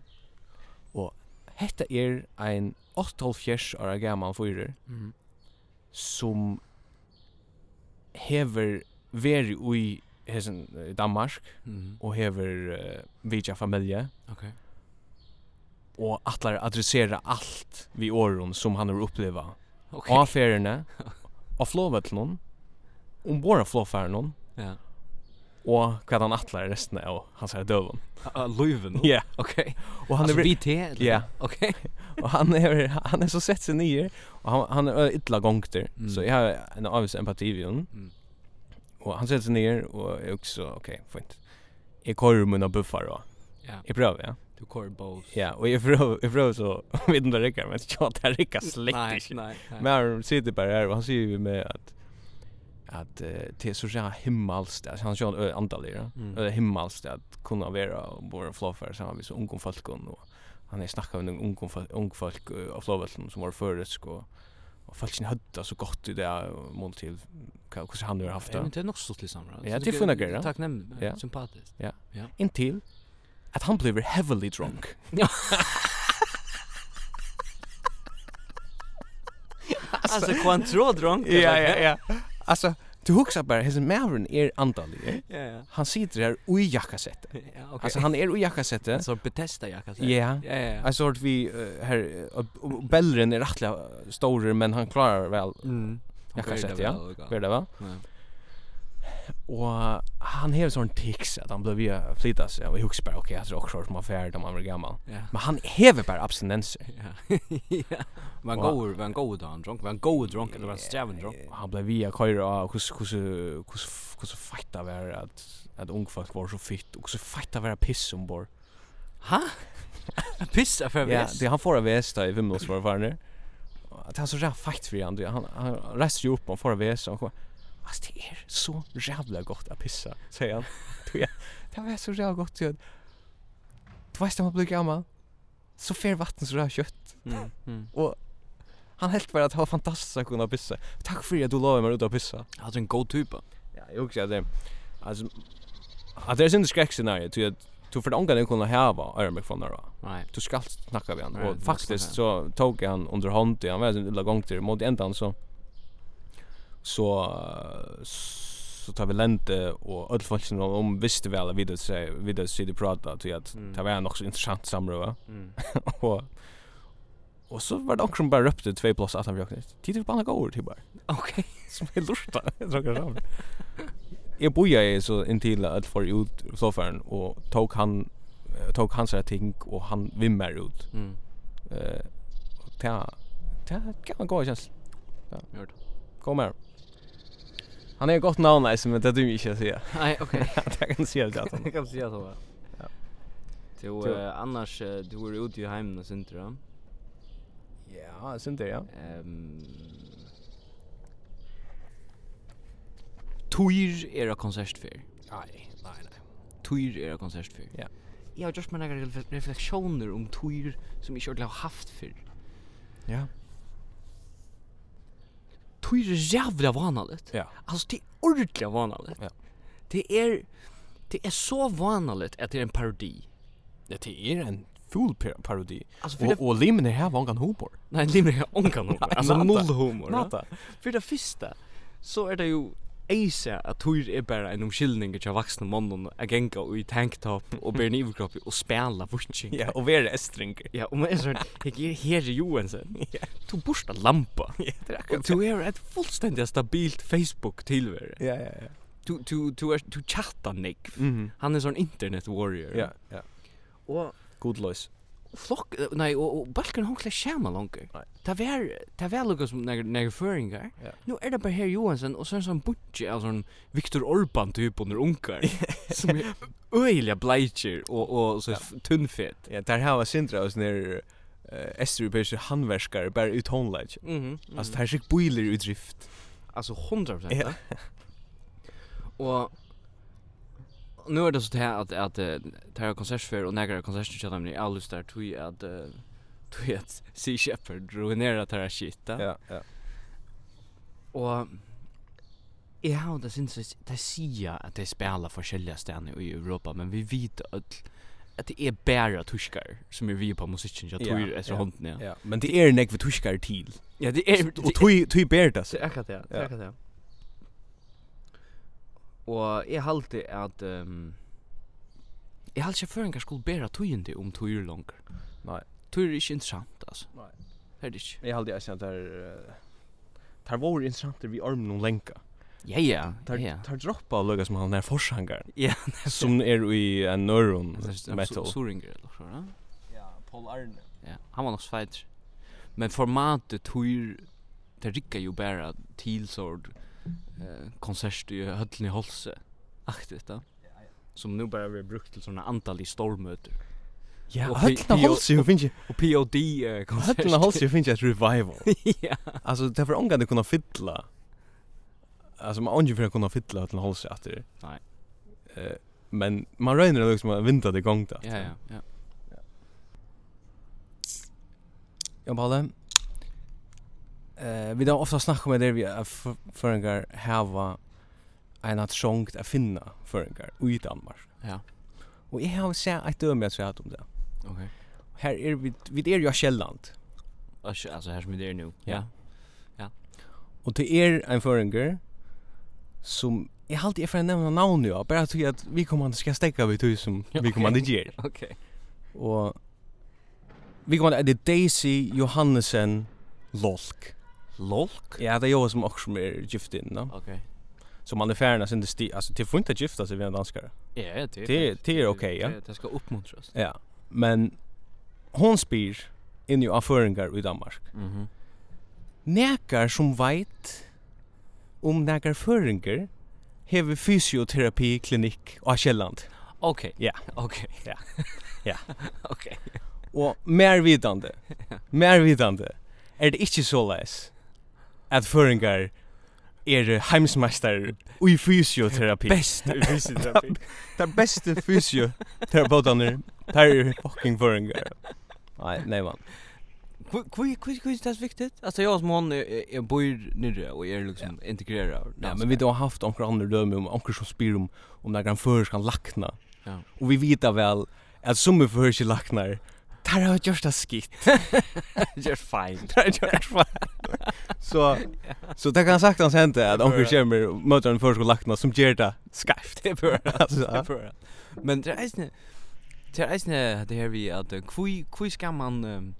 Hetta er ein 8,5 ára gamal fyrir
Mhm.
som hever veri ui hesen eh, Danmark
Mhm.
og hever uh, vidja familie
Okay.
og atlar adressera allt vi åren som han har uppleva.
Okay.
Okay. Av feriene, av flåvetlun, ombord av flåfæren
Ja.
og hva han atlar resten av hans her døven.
Löven.
Ja,
Okay.
og han
Alltså
er vir-
vi te.
Ja.
Okay.
og han er han er så sett seg nye og han han er ø- illa gongter
Mm.
så jeg har en avvis empati vi hon
Mm.
og han setter seg nye og jeg også ok fint jeg kører munna buffar og
Ja.
jeg prøver ja
Du kör both.
ja og jeg prøver jeg prøver så vet inte riktigt men jag tar riktigt
Nej,
släkt
nej.
men han sitter bara här och han säger ju med att att eh, det är så jävla himmelskt alltså han øh, kör en antal där
Mm.
mm. himmelskt att kunna vara och vara flåfär så har vi så ung folk och han är snackar om ung ung folk eh, av flåvälten som var förut och och folk sin hödda så gott i det mål till hur han nu har haft
Ja, men
det
det er är nog så till samma.
Ja, det er får jag göra.
Tack nämn.
Ja.
Sympatiskt.
intill att han blev heavily drunk
Alltså Quantro drunk.
ja alltså du huxar bara er his Mavern är antalig
Ja, ja.
han sitter här i jackasättet
Ja, okej.
alltså han är i jackasättet
så betesta jag kan säga.
Ja.
Ja, ja. ja.
Jag såg att vi eh, här Bellren är rättliga stor er men han klarar väl
Mm.
Jag kan
Okej,
sätta,
det
ja.
var väl
Vad
gott.
är det va?
Ja.
Och han har sån tics att han blev ju flytta sig och hooks bara er okej, jag tror också som affär de man blir gammal.
Ja.
Men han häver bara abstinenser.
Ja. ja. Man
Och-
går, man går då han drunk, man går drunk eller man strävar
Och
drunk.
Eh, han blev via ah, köra och hur hur hur hur så fighta var att att ung folk var så fitt och så fighta var piss om bor.
Ha? Pissa för
Ja,
vis.
det er- han får av västa i Vimmels var var nu. Att han så jävla fight för han han han reser ju upp och får av västa och kommer. Alltså det är så jävla gott att pissa, säger han. Då jag, det var så jävla gott ju. Du vet när man blir gammal så fer vatten så där kött.
Mm, mm.
Han helt bara att ha fantastiskt att kunna pissa. Tack för att du lovade mig att pissa.
Alltså en god typ.
Ja, jag också det. Alltså att det är synd skräckscenario till att du för någon gång kunna häva Örmek från där.
Nej.
Du ska snacka med han
Right,
och
måste
faktiskt
snacka.
så tog han under hand till han var en illa gång till mot ändan så så eh, så tar vi lente och öll folk som om visste väl att vidare sig vidare sig det prata till att
Mm.
det var nog så intressant samråd
Mm.
och och så var det också som bara röpte två plus att han bjöknit. Tid på andra går till bara
Okej.
som är lurta. Jag tror jag samlar. Jag boja är så intill att få ut soffan och tog han eh, tog hans här ting och han vimmer ut.
Mm.
Eh och ta ta kan man gå känns.
Gjort.
Kom här. Han är gott namn alltså men det du inte säga.
Nej, okej.
Jag kan se det att han.
Jag kan säga så va.
Ja.
Jo,
Jo.
eh, annars eh, du är ute i hemmen och sånt där.
Ja, synd det ja.
Ehm Tour är det konsertfär.
Nej, nej nej.
Tour är det konsertfär.
Ja.
Jag har just mina refle- reflektioner om tour som jag inte har haft för.
Ja.
Tour är jävla vanligt.
Ja.
Alltså det är ordentligt vanligt.
Ja.
Det är det är så vanligt att det är en parodi.
Det är en full par- parodi.
Alltså för det
Och och Limner här var han humor.
Nej, det är onkan humor. Alltså
nada.
noll humor. va?
Nata.
För det första så är det ju Eisa att tur är er bara en omskillning till vuxna mannen att gänga och i tanktop och bära en överkropp och spela vuxing.
Ja, och vi är estrinker.
Ja, er och man är sån, jag är här Johansen. Du borsta lampa.
er
Och du är ett fullständigt stabilt Facebook tillvaro.
Ja, ja, ja.
Du du du är du chattar Nick.
Mhm.
Han är sån internet warrior.
Ja, ja.
Och
God loss.
flock nej och, och balken hon klär schema långt.
Nej.
Det var det var något som när när föringar.
Ja.
Nu är det er bara här Johansson och sen sån butche alltså en Viktor Orban er typ under unkar som är öjliga bleicher och och så
Ja.
tunnfett.
Ja, där har var Sindra och sånär eh Estropeiska handverkare bara ut honlage.
Mhm. Mm
Alltså er det här skick boiler ut drift.
alltså 100
Ja.
Och nu är det så här att att eh, det här konsertfär och några konserter kör de alldeles där tog att tog att eh, Sea Shepherd ruinerar det här shit. Ja.
ja.
Og jeg har det synes jeg, det sier at det spiller forskjellige steder i Europa, men vi vet at, at det er bare tyskar som er vi på musikken, jeg
Ja,
tror jeg etter
ja.
er hånden, ja.
Ja, men det är näck vi tuskar till.
Ja, det er
Och tui tui ber det.
akkurat det,
det er
akkurat det. Og jeg halte at um, Jeg halte ikke føringar skulle bæra tøyende om tøyer langer.
Nei.
Tøyer er ikke interessant, altså.
Nei.
Det er det ikke.
Jeg halde jeg at det
eh,
er Tar vore interessanter vi ormen noen lenka.
Ja, ja.
Tar,
ja.
tar droppa og løgga som han er forsangar.
Ja,
som er i en nøron metal.
eh, Metal. er Soringer eller så, ja.
Ja, Paul Arne.
Ja, han var nok sveit. Men formatet tøyer det rikker jo bare til sort eh, konsert i Høtlen i Holse. Aktigt da. Som nu bara blir brukt til sånne antallige stormøter.
Ja,
Og
høllna
P-
holsi jo finnes
Og POD-konsert.
Høllna holsi jo finnes et revival.
eh, ja.
Alltså det var ångande kunna fylla. Alltså man ångar för att kunna fylla att hålla sig att det.
Nej.
Eh men man röjer det liksom att vinta det gång där.
Ja, ja, ja.
Jag bara Eh vi då ofta snackar med det vi är f- förengar hava en att sjunkt att finna förengar i Danmark.
Ja.
Och jag har sett ett döme att säga om det.
Okej.
Här är vi vi är ju Själland.
Okay. Alltså här som er det är nu.
Ja. Och det är en förenger som jag har alltid för att nämna namn nu, bara att att vi kommer att ska stäcka vid hus som
Ja,
vi kommer
okej.
att ge.
Okej.
Och vi kommer att det är Daisy Johannesen Lolk.
Lolk.
Ja, er det är jag som också som är gift in, no?
Okej.
Så man är färna sin sti, alltså till får inte gifta sig vid en danskare.
Ja, det er
Det er- det är okej, ja.
Det- Det ska uppmuntras.
Ja, men hon spyr in i affäringar i Danmark.
Mhm.
Nekar som veit um om nekar føringer hever fysioterapi-klinikk av Kjelland.
Okej.
Ja.
Okej.
Ja. Ja.
Okej.
Og mer vidande, mer vidande, er det ikkje så leis at føringer er heimsmeister i fysioterapi.
Best i fysioterapi.
Det er beste fysioterapeutene, det er fucking føringer. Nei, nei man.
Kvi kvi kvi kvi er det är viktigt. Alltså jag som hon är eh, bor nere och är er liksom integrerad.
Ja, men vi då har haft omkring andra döme om omkring som um, spyr um om om när han först kan lackna.
Ja.
Och vi vet väl att som är först i lacknar. Där har jag gjort det skit.
just fine.
Där har jag gjort fan. Så så det kan sagt hans hända att omkring kommer och möter en först och lackna som ger det skarpt.
Det bör
Alltså, ja.
det er bör. Men det är inte det är inte det här vi att eh, kvi kvi ska man um,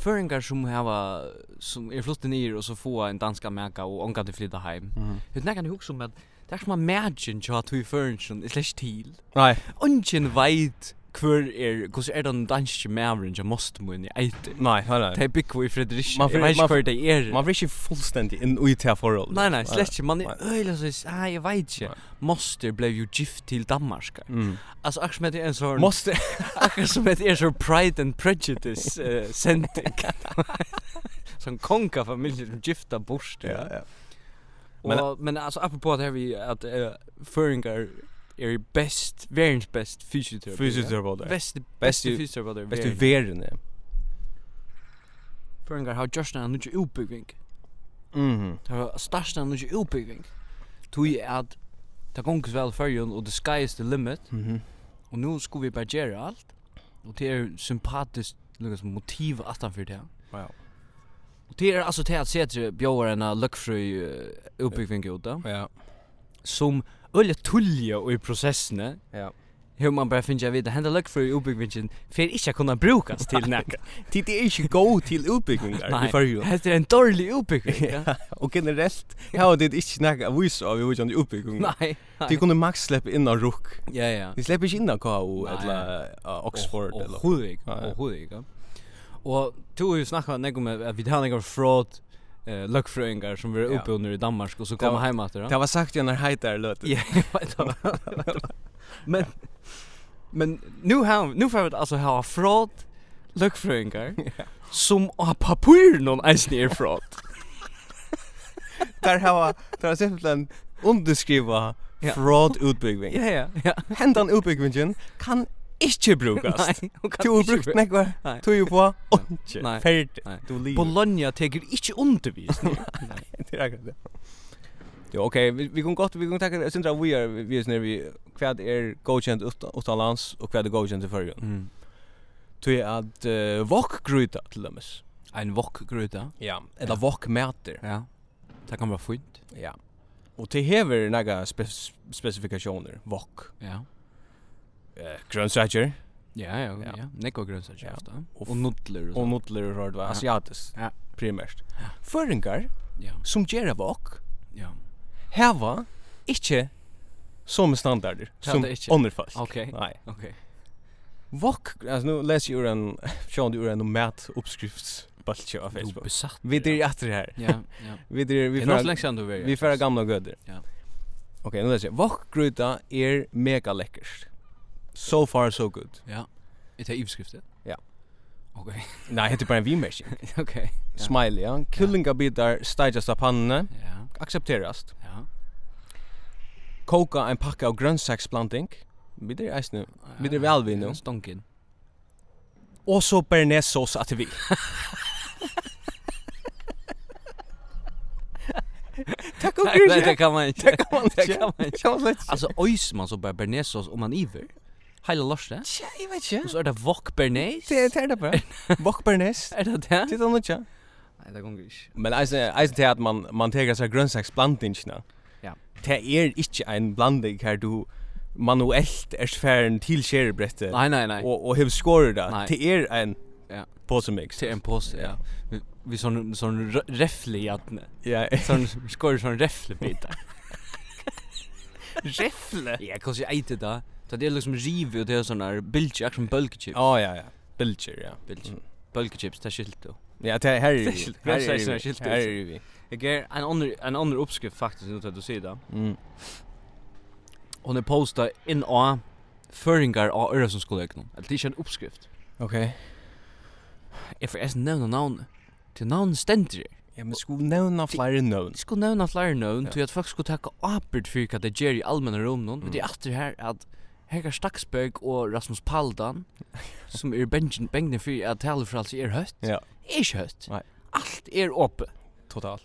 Föringar som hava som er är flyttat ner och så få en danska märka och ångar till flytta hem.
Mhm.
Det näkan hugg som att det är som en magic jag att vi föringar är slash till.
Nej,
Ungen vet hver er, hos er den danske mævren som måste mun i eiter.
nej, nej. nej.
Det er bygg i Fredrik.
Man
Man
får-
vet
man
ikke hver det er.
Man vill inte fullständigt in i till förhåll.
Nei, nei, slett ikke. Man er
Nei.
øyla så, ah, jeg vet ikke.
Nei.
Moster blev jo gift til Danmark.
Mm.
Altså, akkurat som det er en sånn,
Måste
akkurat som det er sånn Pride and Prejudice uh, sending. sånn kongafamilie som gifta bort.
Ja, ja.
Men, og, men altså, apropos det her vi, at uh, føringar er best, verens best fysioterapi.
Fysioterapeuter.
er Best, best
Best i-
fysioterapi.
Best i världen.
Føringar har just en nødvendig utbygging.
Mhm.
Det var størst en nødvendig utbygging. Tui er at det gongs vel fyrjun og the sky is the limit.
Mhm.
Og nu skulle vi bare gjøre alt. Og det er sympatisk liksom, motiv at han fyrir det.
Wow.
Og det er altså til at setre bjóar enn løkfrøy uh, utbyggving ut da.
Ja.
Som øyla tullja og i prosessene.
Ja.
Hur man bara finner jag vid att hända lökfröj uppbyggvingen för inte att kunna brukas till näka.
Det är inte go till utbyggingar i förhåll.
det är en er dårlig uppbyggving. ja.
Og generellt har det ikke snakka av vise av hvordan de oppbyggingen.
Nej.
De kunne maks slippe inn av rukk.
Ja, ja.
De slipper ikke inn av KU
Nei.
eller av Oxford.
Och
eller-
hur gick?
Ja, ja.
Och hur gick? Och tog ju snacka när om att vi hade några um fraud eh luckfröingar som var
Ja.
uppe under i Danmark och så
Det
kom
var-
hem att
Det var sagt igjen når heitar løte.
Ja, jag vet inte. Jag vet inte. Men men nu har nu får vi alltså ha fraud luckfröingar som har papper någon ens ner fraud.
Der har der har simpelthen underskriva
Ja.
fraud utbygging.
Ja ja ja.
Hendan utbyggingen kan ikke brukast.
Nej, hon kan
Du har
inte
brukt
göra-
nekva,
Nei.
tog jo på,
Nei.
ondje, ferdig,
Nei.
du liv.
Bologna tänker inte undervisning.
Det er akkurat det. Jo, ok, vi, vi kan godt, vi kan takke, jeg synes at vi er, vi er sånn, her, vi, hva er godkjent utan- utanlands, og hva er godkjent i førjen.
Mm.
Tui at uh, vokk gruta til dømes.
En wokgruta.
Ja. Eller vokk meter.
Ja. Det kan vara fint.
Ja. Og det hever naga spe spesifikationer. Vok.
Ja.
Eh, grønnsaker.
Ja, ja,
Ja.
ja. ja. Nekko grønnsaker
Ja.
ofte.
Og
Og,
f-
og nudler og
Og
sånt.
nudler og rørt var asiatisk.
Ja.
Primært. Føringar
Ja,
som gjerra vok
ja.
heva ikkje som standarder som
det ikkje.
andre folk.
Ok.
Nei.
Ok.
Vok, altså nu läser jag ur en, sjående ur en mat uppskriftsbaltje av
Du
Facebook.
besatt.
Vi
ja.
är efter det här.
Ja, ja.
Vi är,
Det
vi
er något
får,
länge sedan du var
vi får gamla göder.
Ja.
Ok, nu läser jag. Vokgryta är er mega läckert. So far so good.
Ja. Det är ivskriftet.
Ja.
Ok.
Nej, det är er bara en vinmärkning.
ok. Ja.
Smiley, ja. Kullingabitar stajast av pannene.
Ja,
Accepterast.
ja.
Koka en pakka av grønnsaksblanding. Vi er eisne. Vi er vel vi nå.
Stonken.
Og så bearnaisesauce at vi. Takk og
Nej, det
grunn.
kan man inte.
kan man
Det kan man inte.
man ikke.
Alltså ojs man så bara bearnaisesås om man iver. Hela lorsen.
Tja, jeg vet ikke.
Och så är det wok bearnaise.
Det det er det bare. Vok bearnaise.
Är det det?
Det er noe.
Nej, det går inte.
Men eisne, eisne til at man, man teker seg grønnsaksblandingene.
Ja.
Det er ikke en blanding her du manuelt er sfæren til skjerebrettet.
Nej, nej, nej.
och och hur skorar det?
Nej.
Till er en
Ja.
påse mix.
Till en påse, ja. Vi, vi sån sån räffle i att
Ja.
sån skor sån räffle bitar. räffle. Ja, kan jag äta det. Så det är liksom riv och det er är sån där bilchip som bulkchip.
Ja ja ja. Bilger ja.
Bilch. Bulkchips, det är skilt då.
Ja, det er- här är
Det
ju.
är skilt- grönsakerna är er skilt-
Här är vi.
Jag är en annan en annan uppskrift faktiskt nu att du säger det.
Mm.
Hon er är postad in a Føringar av Øresundskollegene. Det er ikke en oppskrift.
Okej.
Jeg får eisen nevne navnet. Til navnet stender jeg.
Ja, men skulle nämna flera
Jeg
nouns.
skulle nevne flere navn,
Ja.
til at folk skulle takke apert for hva det gjør i allmenne rom noen. Men
Mm.
det er alltid her at Hekar Staksberg og Rasmus Paldan, som er bengen bengene for at tale for alt er høtt,
Ja.
er ikke høtt.
Nei.
Alt er åpe.
Totalt.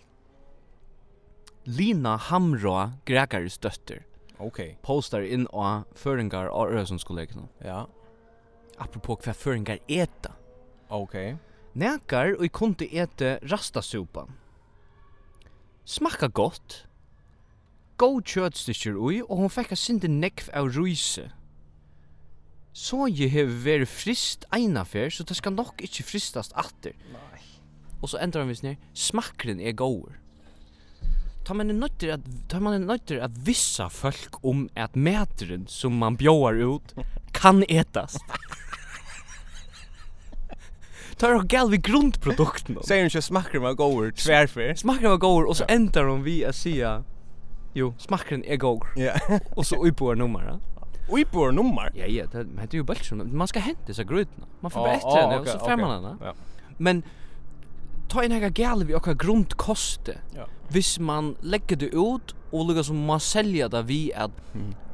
Lina Hamra, Gregaris døtter,
Okej.
postar inn av Føringar av Øresundskollegene.
Ja.
Apropos hva Føringar eta.
Okej.
Nekar og kunde ete rastasupan. Smakka gott. Go kjøtstykker ui, og hon fekk a sindi nekv av ruise. Så jeg hev veri frist einafer, så det skal nok ikkje fristast atter.
Nej.
Og så endrar han vis ned, smakren er goer. Ta man er nøytter at, ta man er nøytter at vissa folk om at meteren som man bjóar ut kan etast. Ta er gal vi grundprodukten.
Säger du inte smackar man goer tvärfär?
Smakren var goer, og så endar hon vi at sia, jo, smakren er goer.
Ja.
Og så uipoar nummer,
Oj på nummer.
Ja, ja, det, men det er jo bølsjon. Man skal hente seg grøytene. Man får bare etter henne, og så fer man henne.
Ja.
Men ta en hega gæl vi okkar grundkoste.
Ja.
Hvis man legger det ut og lukka som man selja det vi at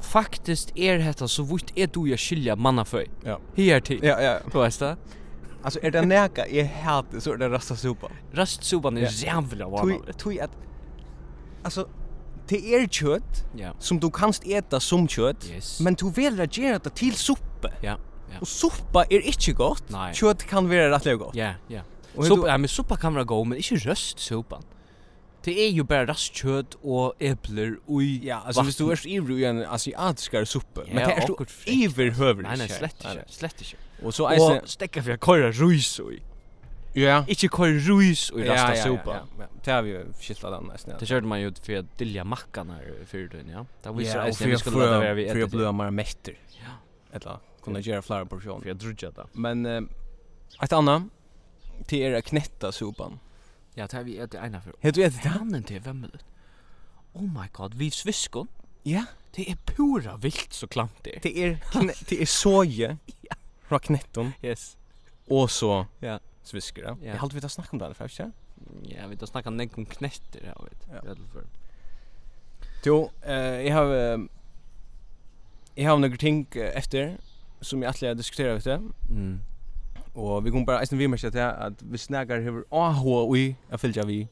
faktisk er hetta så vitt er du jeg skilja mannaføy.
Ja.
Her til.
Ja ja. er
Du veist det?
Alltså är det näka är helt så är det er rasta sopa.
Rastsuban
Ja.
er jævla vanlig.
Tui tui att alltså det är kött
Ja.
som du kanst äta som kött,
Yes.
men du väljer att göra det till suppe.
Ja. Ja.
Och suppa är inte gott.
Nei.
Kött kan vara rätt gott.
Ja, ja.
Og
Suppa,
du-
ja, men suppa kan være god, men ikke røstsupan. Det er jo bare rastkjøtt og epler ui
Ja, alltså hvis du er- är ivrig i en asiatiskare suppe, men
Ja,
det är
akkurat
du
fräckt,
iverhöver
Nei, nei, slett ikke, slett ikke.
Och så
Og
är
stekka for jeg kører ruis ui.
ja.
Ikke kører ruis ui rasta
Ja,
supa.
ja, ja. Det har vi ju skiltat den nästan.
Det körde man ju för att dilja mackan här för den, ja. Det visar
Ja,
jag
och
att vi
för
skulle låta vara vid
för jag
ett.
blev mer mätter.
Ja.
Eller kunna göra flera portioner.
För jag drudja det.
Men eh, ett annat till er att knätta sopan.
Ja, er det har vi ätit ena för.
Heter du ätit det?
Hannen till vem eller? Oh my god, vi sviskon.
Ja,
Det är pura er vilt så klamt det.
till er knä- till er soje.
Ja.
Från knätton
Yes.
och så
Ja.
svisker det.
Ja.
Jag hade vi ta snack om det här först, ja.
Ja, vi tar snacka om om knätter här,
Ja.
vet. Ja.
Jo, eh jag har eh, jag har några ting eh, efter som jag alltid diskuterar vet du.
Mm.
Och vi kommer bara eisen vi mer att att vi snackar hur AH i jag fylja vi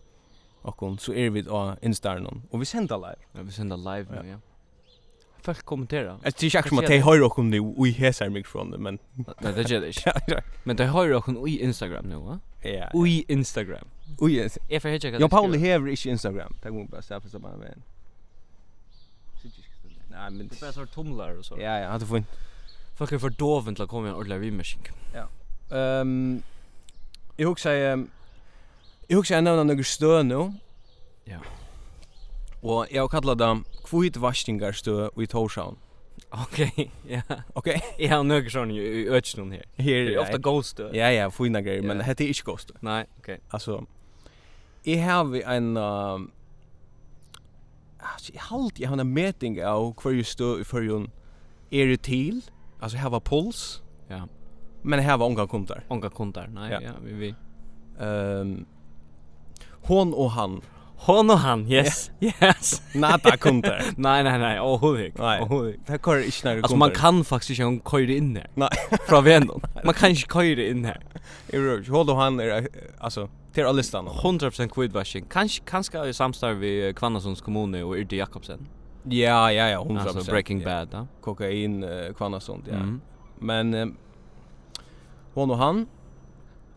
och kon så är vi på Insta någon och vi sänder live.
Ja, vi sänder live
Ja.
nu, ja. Folk kommentera.
Jag tycker inte som att
ser
de hör och nu vi häsar mikrofonen men
Nej, det gör det inte. Men det har ju också en i Instagram nu, va?
ja.
Ui Instagram.
Oj.
Jag får hitta
Jan Pauli hever inte Instagram. Det går bara så här för så bara men. Nej, men
Det är bara så tumlar och så.
Ja, er ja, hade fint.
Folk är för doven till att komma i en ordentlig vimmersing.
Ehm Jag huxar um, Jag huxar en annan några stö nu.
Ja.
Och jag kallar dem kvitt varstingarstö i Torshavn.
Okej, ja.
Okej.
Jag har några sådana i ötsnum här.
Her
Det är er ofta ghost.
er Ja, ja, fina grejer, men
eh? Ja.
det är inte gott.
Nej, okej.
Alltså jag har en um, alltså jag halt jag har en meeting av kvar ju stå i förjun är det till. Alltså jag har puls,
Ja.
men jag har unga kunder.
Onka kontar. Nej,
Ja.
ja, vi vi.
Ehm hon och han
Hon och han, yes. Yes.
nada kunder.
Nej, nej, nej. Åh, hon gick.
Nej.
Åh, hon gick.
Det kör inte när
Alltså man kan faktiskt inte hon köra in här.
Nej.
Från vännen. Man kan inte köra in här.
Hon och han är eh, alltså till alla listan.
100% quidbashing. Kanske kanske jag samstar vi Kvannasunds kommun och Yrte Jakobsen. er
Ja, ja, ja, hon
Alltså Breaking Bad, Ah, ja.
Kokain, eh, kvann och sånt, ja.
Mm.
Men eh, hon och han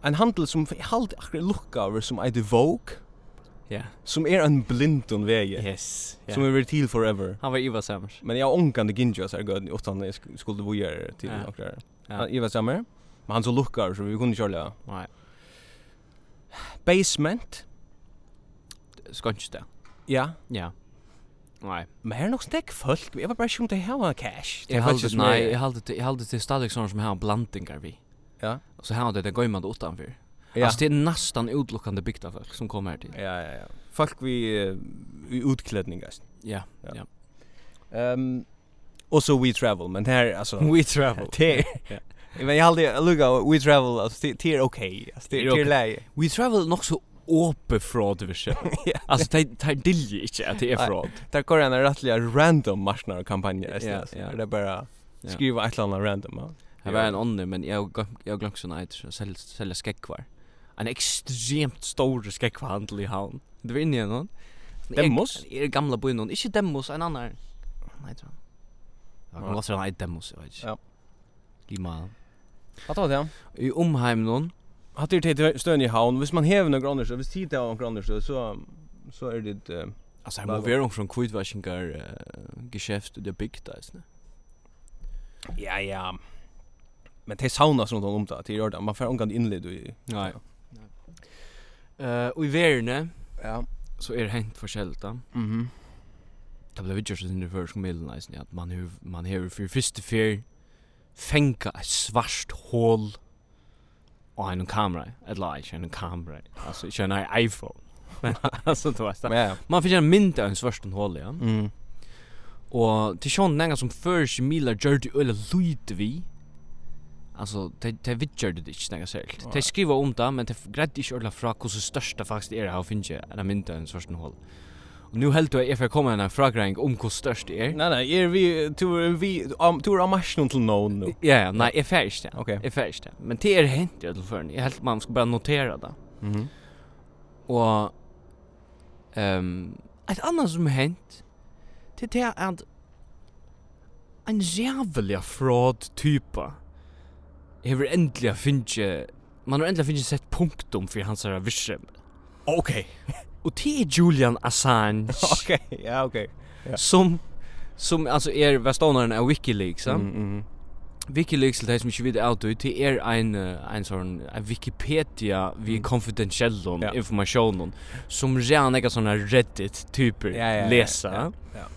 en handel som jag halt akkurat lukka över som är Vogue
Ja.
som är en blindon väg
Yes.
som
Ja.
är väl till forever.
Han var Ivar Samers.
Men jag ångkande ginja så här gud utan jag sk- skulle bo här till
Ja.
och där.
Ja.
Ja. Jag var samma. Men han så lukka över så vi kunde köra.
Nej.
Basement.
Ska inte det.
Ja.
Ja. Nej.
Men här är nog stäck folk. Jag var bara sjukt att ha cash.
Jag hade nej, jag hade jag hade till stadig sån som har blandingar vi.
Ja.
Och så här hade det gömmat utanför.
Ja.
Alltså det är nästan utelukkande bygda folk som kommer här till.
Ja, ja, ja. Folk vi eh, i utklädning guys.
Ja.
Ehm och så we travel men här alltså
We travel.
Det Men jag hade lugga we travel alltså det det är okej. Alltså det
Det är
det är
okej.
läge.
We travel nog så åpe fraud vi ser. Alltså det tar dilje inte att det är
Nej.
fraud.
Där går en rättliga random marknadskampanj
Ja,
alltså.
ja.
Det er är bara
Ja.
skriva ett eller annat random. ja.
Det var en ånder men jag glöm- jag glömde såna ett sälja sälja skäckvar. En extremt er stor skäckvarhandel i havn. Det var inne i någon.
Demos?
Är gamla byn någon. Inte demos en annan. Nej tror jag.
Ja.
Jag låter en demos jag vet.
Ja.
Ja. Lima.
Vad var det?
I Omheim någon.
Hade det till stön i havn. Hvis man häver några andra så hvis tid er av några andra så så så är det eh,
Alltså
här
här må
må
vara någon från Kvidvashingar uh, geschäft det big days ne.
ja ja. Men det saunas runt om det. Det gör det. Man får omgående inled i.
Nej. Eh och i Verne
Ja.
så är det hänt förskällt då.
Mhm.
Det blev ju just in the first middle nice ja. Man hur man hur för första fyr fänka ett svart hål och en kamera, ett light, en kamera. Alltså inte en iPhone. Men alltså det var
Ja. ja.
Man fick en mynd av en svart hål ja.
Mm.
Og til sjón nægna som fyrir milar gjør det øyla lyd vi Altså, de, de vidgjør det ikke nægna selv De
Nei.
skriver om det, men de gredde ikke øyla fra hvordan størsta faktisk er her å finne en mynd av en svørsten hål Og nu heldur jeg for å komme en fragreiing om hvordan størst det er
Nej nej, är vi tur vi am tur am marschen till någon nu.
Ja, ja, nei, jeg fer ikke det
Okej.
Jeg fer ikke det Men det er hent i øyla føren Jeg heldur man skal bare notera det
Mhm.
Og ehm Et annet som er hent Det er det at En jævlig fraud typa Hever endelig finnes Man har endelig finnes sett punktum For hans her visjem
Okej.
Og det er Julian Assange
Okej. Ja, okej.
Som Som altså er Vestonaren av Wikileaks ja?
Mhm.
Wikileaks til de som ikke vet av det Det er en, eh, en sånn en Wikipedia Vi konfidensiellon
Ja.
Mm. ja. informasjonen Som redan er ikke sånne Reddit-typer Lesa
Ja.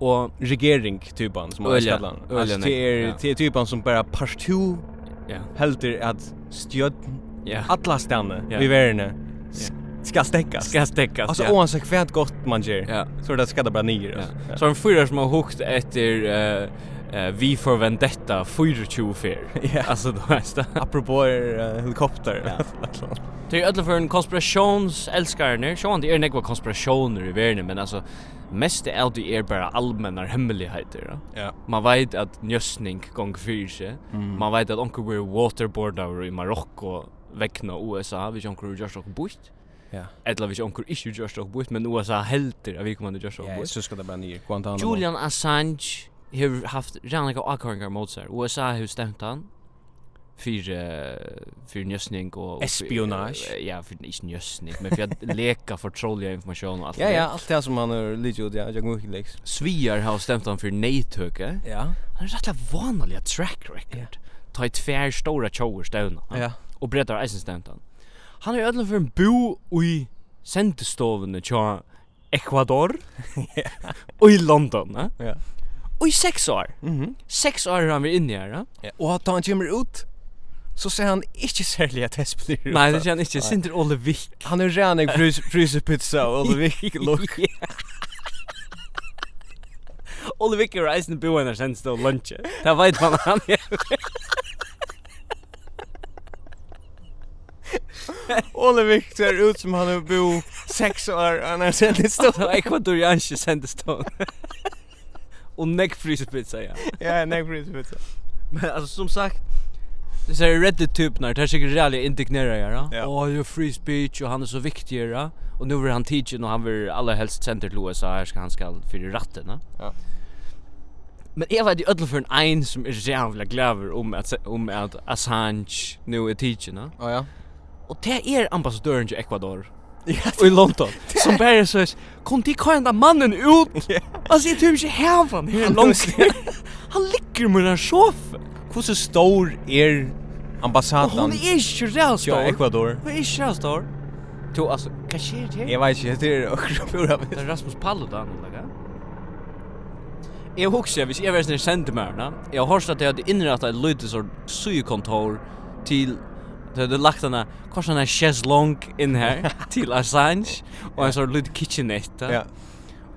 Og
Regering typan som
Ölja.
han.
Ölja,
Alltså
nej.
det är
Ja.
det är typan som bara partout
Ja.
helter att stjöd
ja.
alla stanna
Ja.
vi värne ska stäckas.
ska stäckas.
Alltså
ja.
oavsett kvärt gott man ger.
ja.
Så det ska det bara nior.
ja.
alltså. Ja.
Så er en fyra som har hukt efter eh eh, Vi for Vendetta 24 fyr.
Ja.
Alltså då är det.
Apropå eh, helikopter.
Det är alla för en konspirations älskarne. Så han det är några konspirationer i världen men alltså mest är det är bara allmänna hemligheter. Ja.
Ja.
Man vet att njösning gång fyrse.
Mm.
Man vet att onkel var waterboardar i Marokko väckna USA, vi onkel just och bort.
Ja.
Eller vi onkel inte just och bort men USA helter att vi kommer att just och
Ja,
bort.
så ska det bara nior. Guantanamo.
Julian Assange har haft ranniga avkåringar mot sig. USA har stämt han för eh, för njösning och
Espionage.
eh, Ja, för inte njösning, men för att leka förtroliga information och allt.
Ja,
det.
ja, allt det som man har lite ut, ja, jag går Wikileaks.
Sviar har stämt han för nejtöke.
Ja,
Han har rätt vanliga track record. Ta ett tvär stora tjower stävna.
ja,
Og brettar eisen stemt han. Han er ødelen for en bo i sendestovene tja Ecuador og i London, ne?
ja.
Og i seks år.
Mhm.
Seks år har han vært inne her, ne?
Ja, Og da han kommer ut, så ser han ikke særlig at hest blir
Nei, det kjenner ikke. Sinter Ole Vik.
Han er rannig frysepizza og Olvik look.
Ole Vik er eisen bo i en sendestov lunche. Det vet man han er.
Olvik ser ut som han har bo seks år, han er sen litt
Det var ekvadorianske sendestov. Og nekk frysepizza, ja.
Ja, nei, frysepizza.
Men alltså som sagt så är rätt typ när det är säkert jävligt indignerad ja.
Ja.
Åh, your free speech och han är så viktig ja. Och nu vill han teachen och han vill alla helst center till USA här ska han ska för i ratten ja.
Ja.
Men jag vet ju ödel för en ein som är jävla glaver om att om att Assange nu är teachen ja.
Å ja.
Och det är ambassadören till er Ecuador
Ja,
och i London som bara så här, kom till kan den mannen ut.
Ja.
Alltså jag tror inte här han här
Han
långt. Han ligger med en sofa.
Hvordan stor er
Och hon
ambassaden
är ju
til
rätt stor.
Ecuador?
Vad är det här står? Du, alltså, vad sker det här?
Jeg vet ikke, det er akkurat pura
Det
vitt.
är Rasmus Paludan, eller Jag huxar, hvis jag var sånn sender meg, na? jeg har hørt at jeg hadde innrettet et lydde sånn sykontor til Det hade lagt henne, kors henne chaiselong in her til Assange og en sånn lyd kitchenette.
Ja.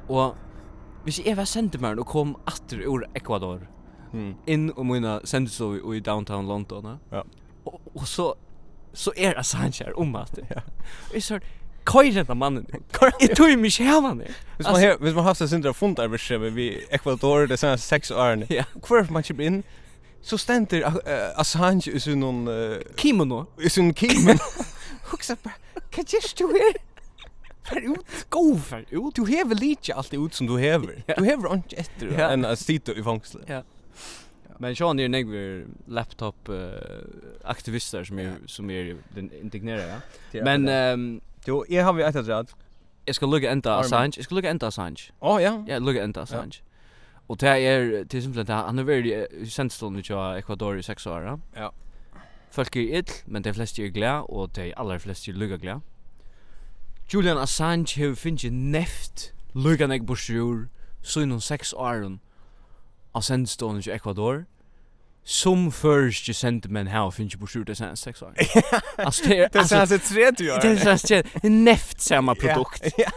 Og hvis jeg var sendemæren og kom atter ur Ecuador
Mm.
inn og mina sendestov i downtown London, na?
Ja.
og, og så så er Assange her om at det.
Ja.
Og jeg sa, køyre denne mannen. er Jeg tog mig ikke hava ned.
Hvis man har hvis man har haft sin där fundarbetet vi Ecuador det er senaste sex åren.
Ja.
Kvar man chip in så ständer uh, Assange uh, i sin någon
Kimono.
i sin kim. Huxa bara. Kan just du här?
Fer ut. Go fer ut.
Du hever lite allt ut som du hever.
Ja.
Du hever inte efter
Ja.
en att sitta i fängelse.
Men Sean är negver laptop uh, aktivister som är som är den indignerade. Ja. Men ehm
jo, jag har vi ett rätt.
jag ska lugga ända
Armin.
Assange. Jag ska lugga ända Assange.
Ja, ja.
Ja, lugga ända Assange. Och det är till exempel att han har varit sändstånd i Ecuador i sex år. Ja.
Ja.
Folk är ill, men er de flesta är glada och de allra flesta är lugga glada. er Julian Assange har finnit neft lugga nek borsjur så inom sex åren av sendstånd i Ecuador som först sentiment här finnit borsjur det senaste sex åren. alltså det är
Det är
alltså,
senaste tredje
det är
åren.
sånn at- neft samma er produkt.
Ja,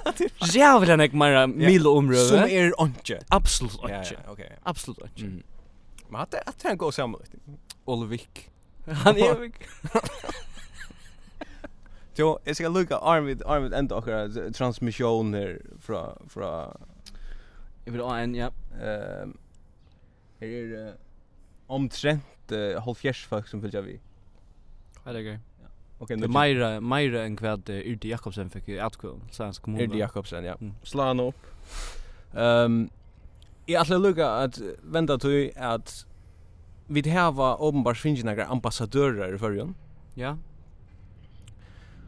Jävlar nek mera mil och omröve.
som är onke.
Absolut
Ja,
inte.
ja, okej.
Absolut inte.
Mm. Men att det att det går samman.
Olvik. Han er är
Jo, jeg skal lukka Arvid, Arvid enda okkara transmissioner fra, fra,
Jag vill ha en, ja.
ehm her er eh, omtrent uh, halvfjers folk som fylgja vi.
Ja, er det är gøy.
Ok,
Det er är Meira, Meira än kvad eh, Yrdi Jakobsen fick i Atkvön, Svensk kommun.
Erdi Jakobsen, ja.
Mm.
Sla han opp. Um, jeg ætla lukka at venda til at vi hava åpenbart finnje nekra ambassadører i fyrjun.
Ja.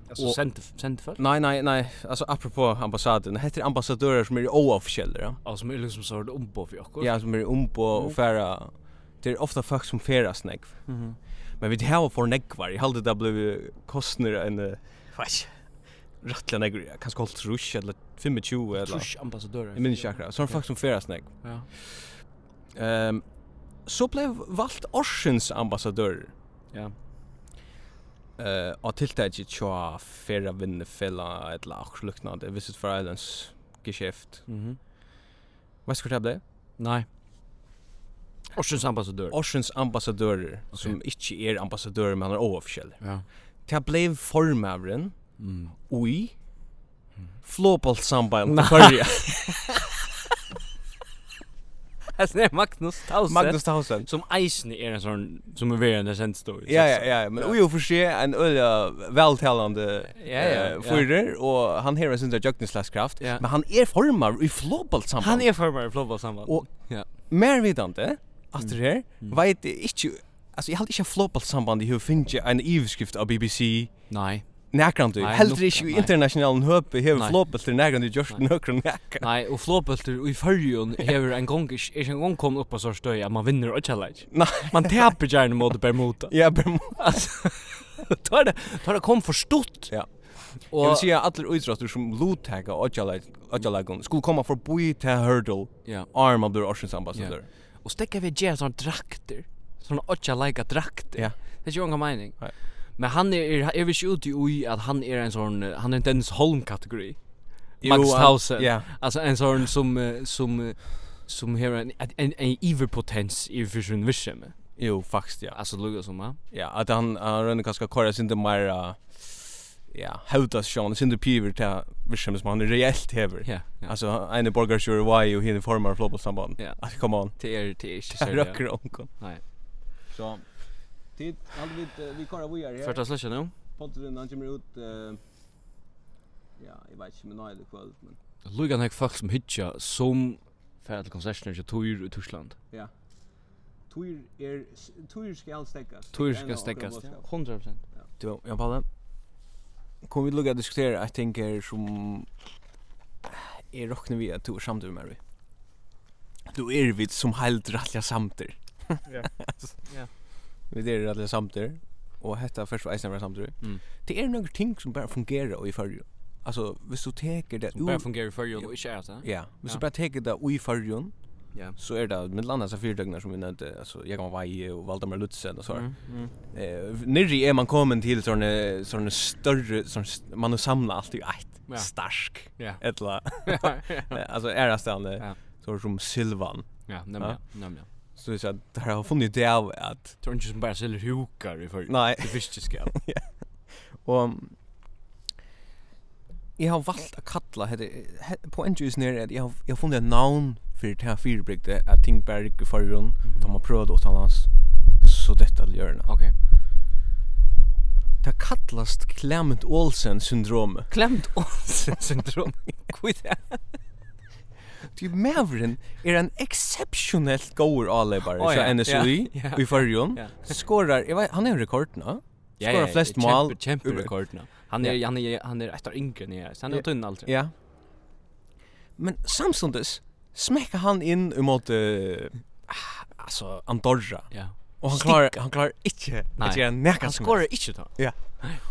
Og-
Alltså sent sent för.
Nei, nei, nei, altså apropos ambassaden, hette er ambassadører som er oaffisjeller, ja.
Alltså som är liksom så det ombå för Jakob.
Ja, som er ombo og færa, det er ofta folk som færas nekv.
Mhm.
Men vi har for negvar, jeg halde det blev kostner en, eh, vet rattla negvar, jeg kanskje holdt rush, eller 25, eller,
Trusch ambassadör.
jeg minns ikke akkurat, sånn folk som ferast negv.
Ja.
Um, så ble valgt Orsens ambassadør
Ja.
uh, av tiltaket tja færa vinnefella, eller akkur luknande, visit for islands geschäft.
Mhm.
Vet du hva det ble?
Nej. Orsens ambassadör.
Orsens ambassadører, som ikke er ambassadører, men han er overforskjell.
Ja.
Det ble formavren,
Mm.
Ui. Flåpalsamband på Førja.
Alltså nej Magnus Tausen.
Magnus Tausen.
som eisen är en sån som er är värre än sen står.
Ja, ja, ja. Men Ui og Forse er en øyla veltalande
Ja, ja, ja.
fyrer, og han har en sindra jøgnislaskraft,
Ja.
men han er formar i flåpalsamband.
Han er är för mig flobba samband.
Och-
ja. Mm.
Mer vidande, at det her, veit jeg ikke alltså jag hade inte floppat samband i hur finns jag en ivskrift av BBC
Nei,
Nærkrandu,
Nei,
heldur
nokta,
ikke i
nei.
internationalen høpe hefur
Nei.
flopbultur nærkrandu gjørst
Nei.
nøkran nærkrandu.
nei, og flåbøltur i fyrjun hever en gong, ikke ikke en gong kom upp på så støy at man vinner og challenge.
Nei. er
Man taper gjerne mot Bermuda.
Ja, berm.
Altså, da er det, da er det kom for stort.
Ja. Jeg vil
Og,
si at alle utrastur som luttega odjalagun skulle komme forbi til hurdle
ja,
arm av der Orsensambassadør.
og stekka vi gjerne sånne drakter, sånne otja leika drakter.
Ja.
Det er ikke unga mening.
Nei.
Men han er, er, er vi ikke ute i at han er en sånn, eh, han er en Dennis Holm-kategori.
Jo,
Max
han-
Tausen.
Ja,
Alltså en sån som eh, som eh, som har en en en iverpotens i vision vision.
jo, faktisk, ja.
Alltså lugga som va.
Ja, at han han rønner kanskje kora sin til meira ja, hautas sjón sin til piver til virksemmes man reelt hever.
Ja. ja.
Altså, ene borgar sure why og hinne formar flopballsamband.
Ja.
Altså, come on.
det är det är inte så.
Røkker onkon.
Nej.
Så tid hade vi vi kora vi är
Första slashen nu.
Potter han kommer ut eh, ja, jag vet inte men nej det kväll men
Lugga när folk som hitcha som för att konserten i Tur i Tyskland.
ja. Tur er tur skal stekkas.
Tur ska stäckas. 100%.
Du, ja Palle. Kom vi lukka diskutera ett ting er här som är rockna vi att du är samtidigt med mig. Du är vi som helt rättliga samtidigt.
Ja. Ja.
Vi är rättliga samtidigt. Och hetta först var eisen var samtidigt.
Mm.
Det är några ting som bara fungerar i förrjun. Alltså, hvis du teker det
Som bara fungerar för ju och inte är det.
Ja, hvis du
Ja.
bara teker det i förrjun,
er eh? Ja.
så är det med annat så fyrdögnar som vi nämnde, alltså Jägan Vaje och Valdemar Lutzen och så. Mm. Eh nirri är man kommen till sån sån större sån man har samlat allt i ett
Ja.
stark
Ja.
ettla
Ja.
alltså är Eh, er det stanna
Ja.
så som Silvan
Ja, nämligen. Nämligen.
så det så att det har funnit det av att
Tror inte som bara säljer hukar i för.
nej
Det visste ska.
och jag har valt att kalla hade på en juice nere att jag har jag har funnit en namn för det här fyrbrygde att ting bara rycker förrun de har prövat åt annars så er detta att göra
Okej.
det kallast Clement Olsen syndromet
Klemt Olsen syndrom. Kvitt
Ty Mavren er en exceptionellt goer allebare
Å,
så
ja,
NSUI
ja, ja.
i förrjon.
Ja.
Skorar, jag vet, han är er rekord nu.
Ja,
Skorar
ja,
flest
ja,
mål.
Kjempe, kjempe
Ur-
rekord nu. Han är han är han är ett av yngre ni är. Så han er är
Ja.
tunn alltid.
Ja. Men samstundes smäcker han in emot uh, alltså Andorra
Ja.
och han klarar han klarar inte
Nei.
att göra näka
Han
skor.
skorar inte då.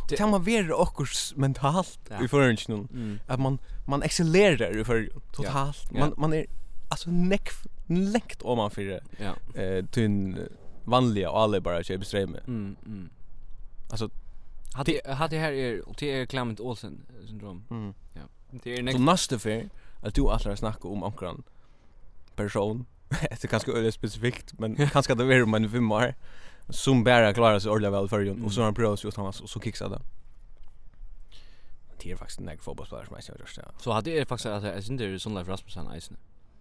Det man vara också mentalt
Ja.
i förrjon
Mm.
att man man excellerar i förrjon totalt. er,
Ja.
Man man är alltså näck längt om man för det.
Ja.
eh tyn vanliga och alla bara köper strömme.
Mm. mm.
Alltså,
hade hade här är och det är Clement Olsen syndrom. er
Mm.
Ja. Det är
Så
nästa.
nästa för att du allar snacka om ankran um person. Det är ganska öle specifikt men kanske att det är om en fem år som bara klarar sig ordentligt väl för ju och så har han provat sig åt annars och så kicksar det. Det är faktiskt en fotbollsspelare som jag ser just där.
Så hade är faktiskt att jag synd det är Sonleif Rasmussen isen.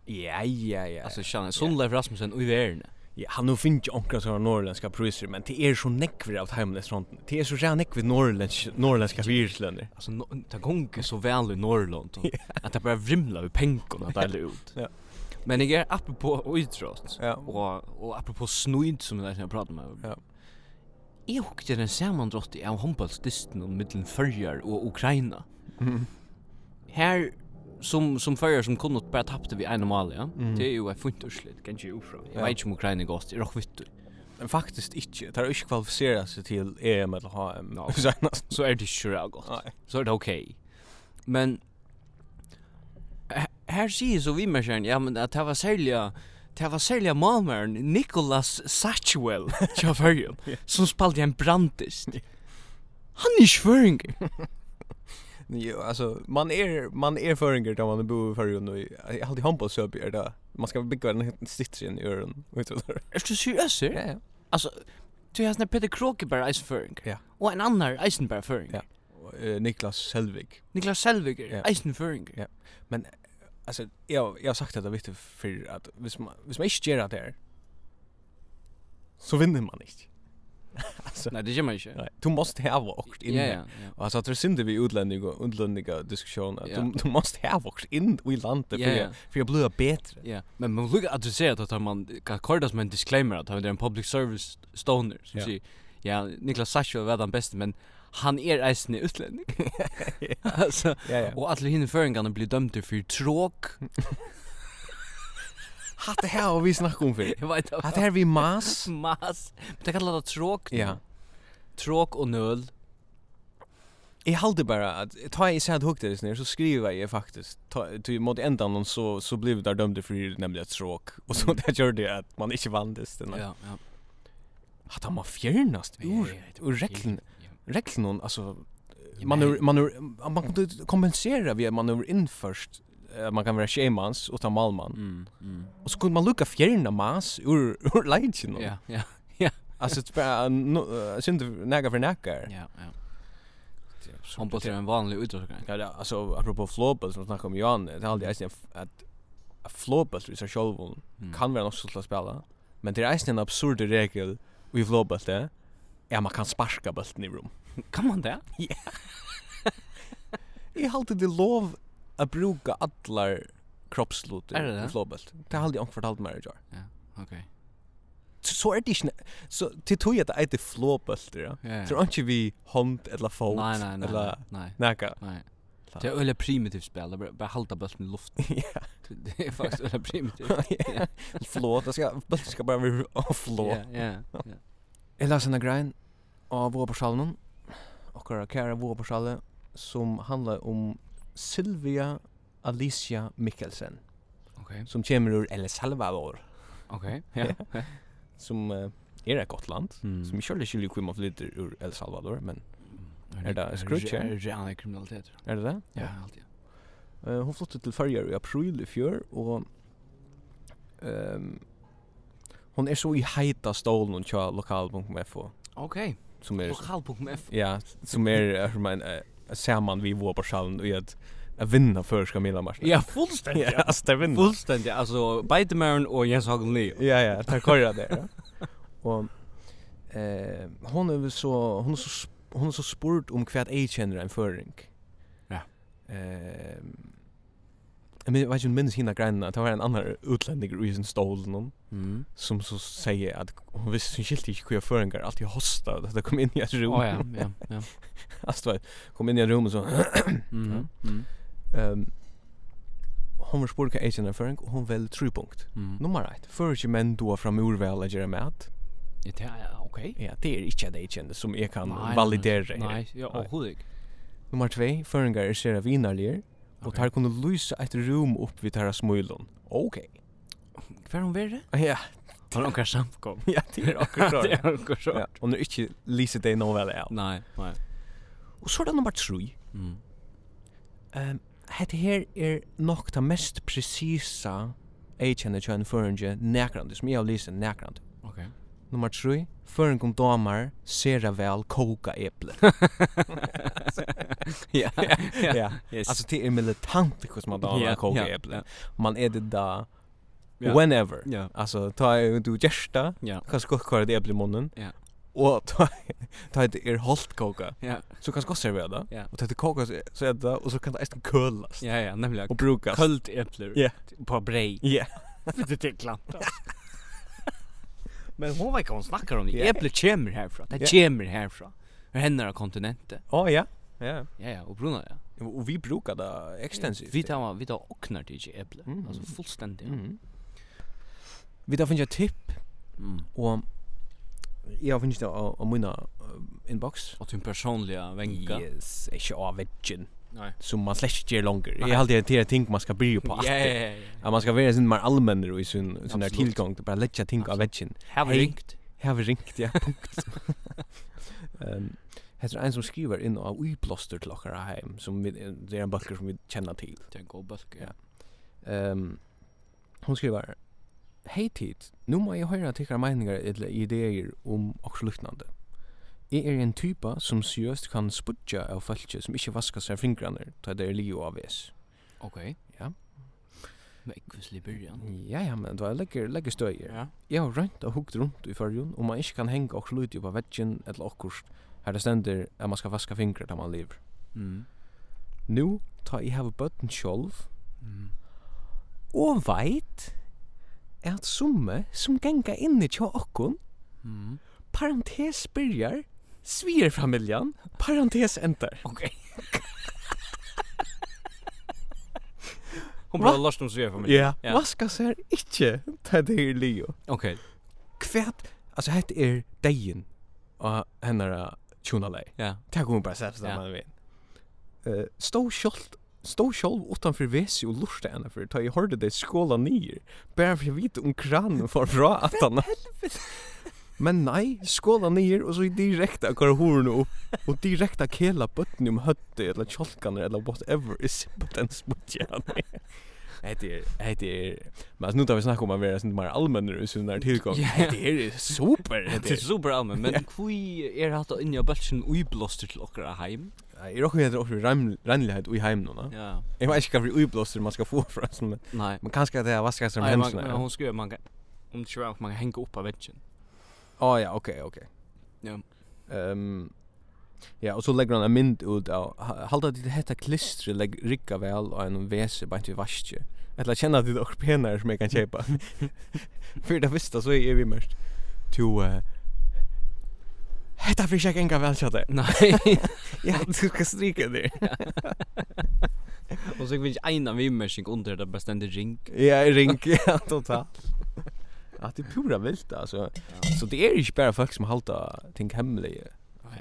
Ja, ja, ja.
Alltså Shanna Sonleif Rasmussen och i världen.
Ja, han nu finns ju ankra sådana norrländska priser, men det är så näckvig av hemläsfronten. Det är så jävla näckvig norrländska, norrländska virusländer.
Alltså no- ta gånger så väl i Norrland och att det bara vrimlar ur penkorna där det ut.
Ja.
Men jag är uppe på idrott.
Ja.
Och och apropå snuid som det jag pratar med.
Ja.
Jag åkte den sammandratt i av handbollsdisten om mellan Färjar och Ukraina.
Mm.
Här som som Färjar som kunde bara tappte vi en mål, ja. Det är ju ett fint urslit, kanske ju ofra. Jag
Mhm. Ja.
vet inte om Ukraina er går till Rockvitt.
Men faktiskt inte. Det har inte kvalificerat sig till EM eller HM.
Ja.
No. Senast.
Så är det ju gott.
Nej.
så er det okej. Men h- här ser så vi människan, ja men att det var sälja Det var sälja malmaren Nicholas Satchwell till Färjön som spelade en brandist. Han er är svöring.
Jo, alltså man är man är föringer där man bor för ju nu. Jag hade handboll så blir det. Man ska bygga en stitch i öronen. Vet du er? vad?
Är Er du seriös? Ja, ja. Alltså, du har sån här Peter Krokeberg Eisenföring.
Ja.
Och en er annan Eisenbergföring.
Ja. Eh, Niklas Selvig.
Niklas Selviger,
Ja.
Eisenföring.
Ja. Men alltså jag jag har sagt att det är viktigt för att hvis man hvis man inte gör det här så vinner man inte. alltså.
Nej, det gör man ju inte.
Nej, du måste ha vårt
Ja,
in. här.
ja, ja.
Och Alltså att det er synd vi utlänningar och utlänningar diskussion att
Ja.
du, du måste ha vårt in i landet
Ja,
för
ja.
jag för jag blir bättre.
Ja, men man lukar att du säger att man kan korda som en disclaimer att han är en public service stoner som
Ja.
säger ja, Niklas Sascho var den bästa men han er är eisen i utlänning. alltså,
Ja ja.
och alla hinner föringarna blir dömda för tråk.
Hatt det här och vi snackar om för.
Jag vet inte.
Hatt er det här vi mas.
Mas. Men det kallar det tråk. nu.
Ja.
Tråk och nöl.
Jag hade bara att ta i sen hugg det ner så skriver jag faktiskt ta till mot ändan och så så blev det dömde för nämligen ett stråk och så det gjorde det att man inte vann det den.
Mm. Ja, ja.
Att han var fjärnast
Ja, ja,
ur
ja, det var
ur regeln
Ja.
regeln hon alltså
Ja,
man
men-
ur, man ur, man kan inte kompensera via man ur in först eh, man kan vara tjejmans och ta malman
Mm, mm.
och så kunde man lucka fjärna mas ur ur lejen
Ja, ja,
alltså det bara no, eh, synd näga för näga
ja, ja.
Hon
Han på en vanlig utdragsgrej.
Ja, det, er, alltså apropå flåbel som snackar om Johan, det är alltid eisen att att flåbel i sig själv
Mm.
kan vara något sånt att spela. Men det är eisen en absurd regel i flåbel det är att man kan sparka bulten i rum.
kan man det?
Jag har alltid det lov att bruka alla
Är Er det
kroppsluter i
det?
flåbel. Det har alltid jag fortalt mig det.
Okej.
Så så är det inte, så till tog jag att det är flåbel det. ja.
Ja, ja.
Tror inte vi hand eller fot
Nej, nej, nej.
eller
nej, Nej.
näka.
Nej.
Ta.
Det er är öle primitivt spel. Det är bara- bara halta bulten i luften.
Ja.
Det är faktiskt öle primitivt.
Flåt, det ska, bulten ska bara vara flåt.
Ja, ja. ja.
Jeg las henne grein av Våparsalmen, okkara kæra Våparsalle, som handlar om Silvia Alicia Mikkelsen,
Okej.
som kommer ur El Salvador,
Okej. Ja.
som uh, er et godt land,
Mm.
som jeg kjøler skiljer hvor man flytter ur El Salvador, men Är er det scrooge, ja?
Är Er det real kriminalitet?
er det det?
Ja, alltid.
Eh, hon flyttade till Färjar i april i fjör och ehm hon er är så i hajta stolen och kör lokal.fo
Okej.
som är
Lokal.f.
Ja, som er, eh, är jag men samman vi vår person och att att vinna för ska milla matchen.
Ja, fullständigt.
ja, alltså det vinner.
Fullständigt. Alltså Baitemaren och Jens Hagen Leo.
Ja, ja, det korrar det. Ja. Och eh hon är väl så hon är så sp- hon är så spurt um om kvad age känner en förring.
Ja.
Ehm Men jag vet inte minns hinna grejerna, det var en annan utlänning i sin stol någon
Mm.
som så säger att hon visste sin skilt inte hur föringar alltid hosta och det kom in i ett rum.
Åh ja, ja, ja.
Alltså det kom in i ett rum och så
Mm. Mm.
Ehm hon var spurka agent er erfaring och hon väl true punkt.
Mm.
Nummer 1. Förge män då fram ur väl att göra mat.
Ja, det är okej.
Ja, det är inte det agent som jag kan
Nej, nej,
validera. här.
Nej, ja, och hur
Nummer er 2. Föringar är sera vinarlier och
Okej.
tar kunde lysa ett rum upp vid deras smulon. Okej.
Kvar hon
er
värre?
Ja,
Har hon kanske samkom?
ja, det är också
Det er
så.
är hon kanske.
Ja, och nu inte lyser det någon väl av.
Nej, nej.
Och så är det nummer 3.
Mm.
Ehm hetta her er nokk ta mest presisa agent kjøn føringe nækrandi sum eg lesa nækrandi.
Okej.
Nummer 3. Føring kom damer, sera vel koka eple.
Ja.
ja.
Yes.
Altså, det er militant hos man damer
Ja,
koka
ja,
eple.
ja.
Man er det da
Ja.
whenever.
Ja.
Altså, ta er du gjersta,
Ja.
kanskje godt kvar et eple i munnen.
Ja.
Og ta, ta et er holdt koka,
Ja.
så kanskje godt servera det.
Ja.
Og ta et koka, så- så er det da, og så kan det eisen kølas.
Ja, ja, nämligen
Og brukast.
kallt äpplen
Ja.
på brej.
Ja.
Det är klantat. Men hon var inte hon snackar om det.
Ja.
Äpplet kommer härifrån.
Ja.
Det kommer härifrån. Det händer av kontinenten.
Å, ja. Ja.
Ja, ja, och bruna, ja.
Och vi brukar det extensivt.
Vi tar, vi tar åknar till inte äpple.
Mm.
Alltså fullständigt.
Mm. Vi tar finna tipp
Mm.
och jag finns det av av mina eh, inbox.
Och din personliga vänka.
Yes, inte av veggen.
Nej.
Som man släcker ger longer.
Nej.
Jag har alltid det ting man ska bry på.
Ja,
alltid.
ja, ja.
Att man ska vara sin mer allmänner i sin sån där
Absolut.
tillgång till bara lägga ting av veggen.
Här var
Hej.
ringt.
Här har vi ringt, ja, punkt. Ehm, Här är en som skriver in av uplåster till åkara hem. Som vi, det är en böcker som vi känner till.
Det är en god böske.
Ja. Ehm hon skriver Hej tid, nu må jeg høre tykkara meningar eller ideer om og slutnande. Jeg er en typa som seriøst kan spudja av fölkje som ikke vaskar seg fingrarna ta det er lio av es.
Okej.
Ja.
med ekvis Liberian.
Ja, ja, men det var lägger lägger stöjer.
Ja.
Jag har rönt och hukt runt i förjun och man inte kan hänga och luta på väggen eller akkurst. Här det ständer att man ska vaska fingrar där man lever.
Mm.
Nu tar jag have button själv
Mm.
och vet att summe som gänga in i tja akkon,
Mm.
parentes byrjar, svigerfamiljan, parentes enter.
Okej. Hon bara låst om sig för mig.
Ja. Vaska sig inte, det är Leo.
Okej.
Kvärt, alltså hette är dejen och henne tjonalej.
Ja.
Det kommer bara sätta sig
Ja.
man vet. Eh stå skolt stå själv utanför Vesi och lusta henne för ta i hörde det skåla ner. Bara för jag vet om kranen för bra att han. Men nej, skåla ner och så direkt att går horn upp och direkt att kela botten om hötte eller kjolkaner eller whatever is potens mot jan. Det är det är men alltså, nu tar vi snacka om att vara sånt mer allmänare i sån där tillgång.
Ja.
Det är super.
Det är super allmänt, men kvui er hatt inni av bølsen uiblåster til okkara heim.
Jag råkar heter också renlighet i hem nu. va?
Ja.
Jag vet inte hur uppblåster man ska få från en sån, men er
Nei.
man kanske det här vaskar sig med
Nei, man,
händerna.
men hon skriver man kan, om det ikke var at man kan henge opp av veggen.
Ja, ja, okej, okej.
Ja.
Ehm Ja, och så lägger han en mynd ut av ha- halda dit hetta klistri lägg rigga väl och en vese bara inte vaske. Eller känna dit och penare som jag kan köpa. För det visste så är vi mest. To eh Hetta fick jag enga väl chatta.
Nei.
Ja, du ska stryka det.
Og så finnes eina vimmersing under det bestende ring.
Ja, ring ja, totalt. Ja, det är pura er vilt alltså. Så det är ju inte bara folk som håller ting hemliga
Nei,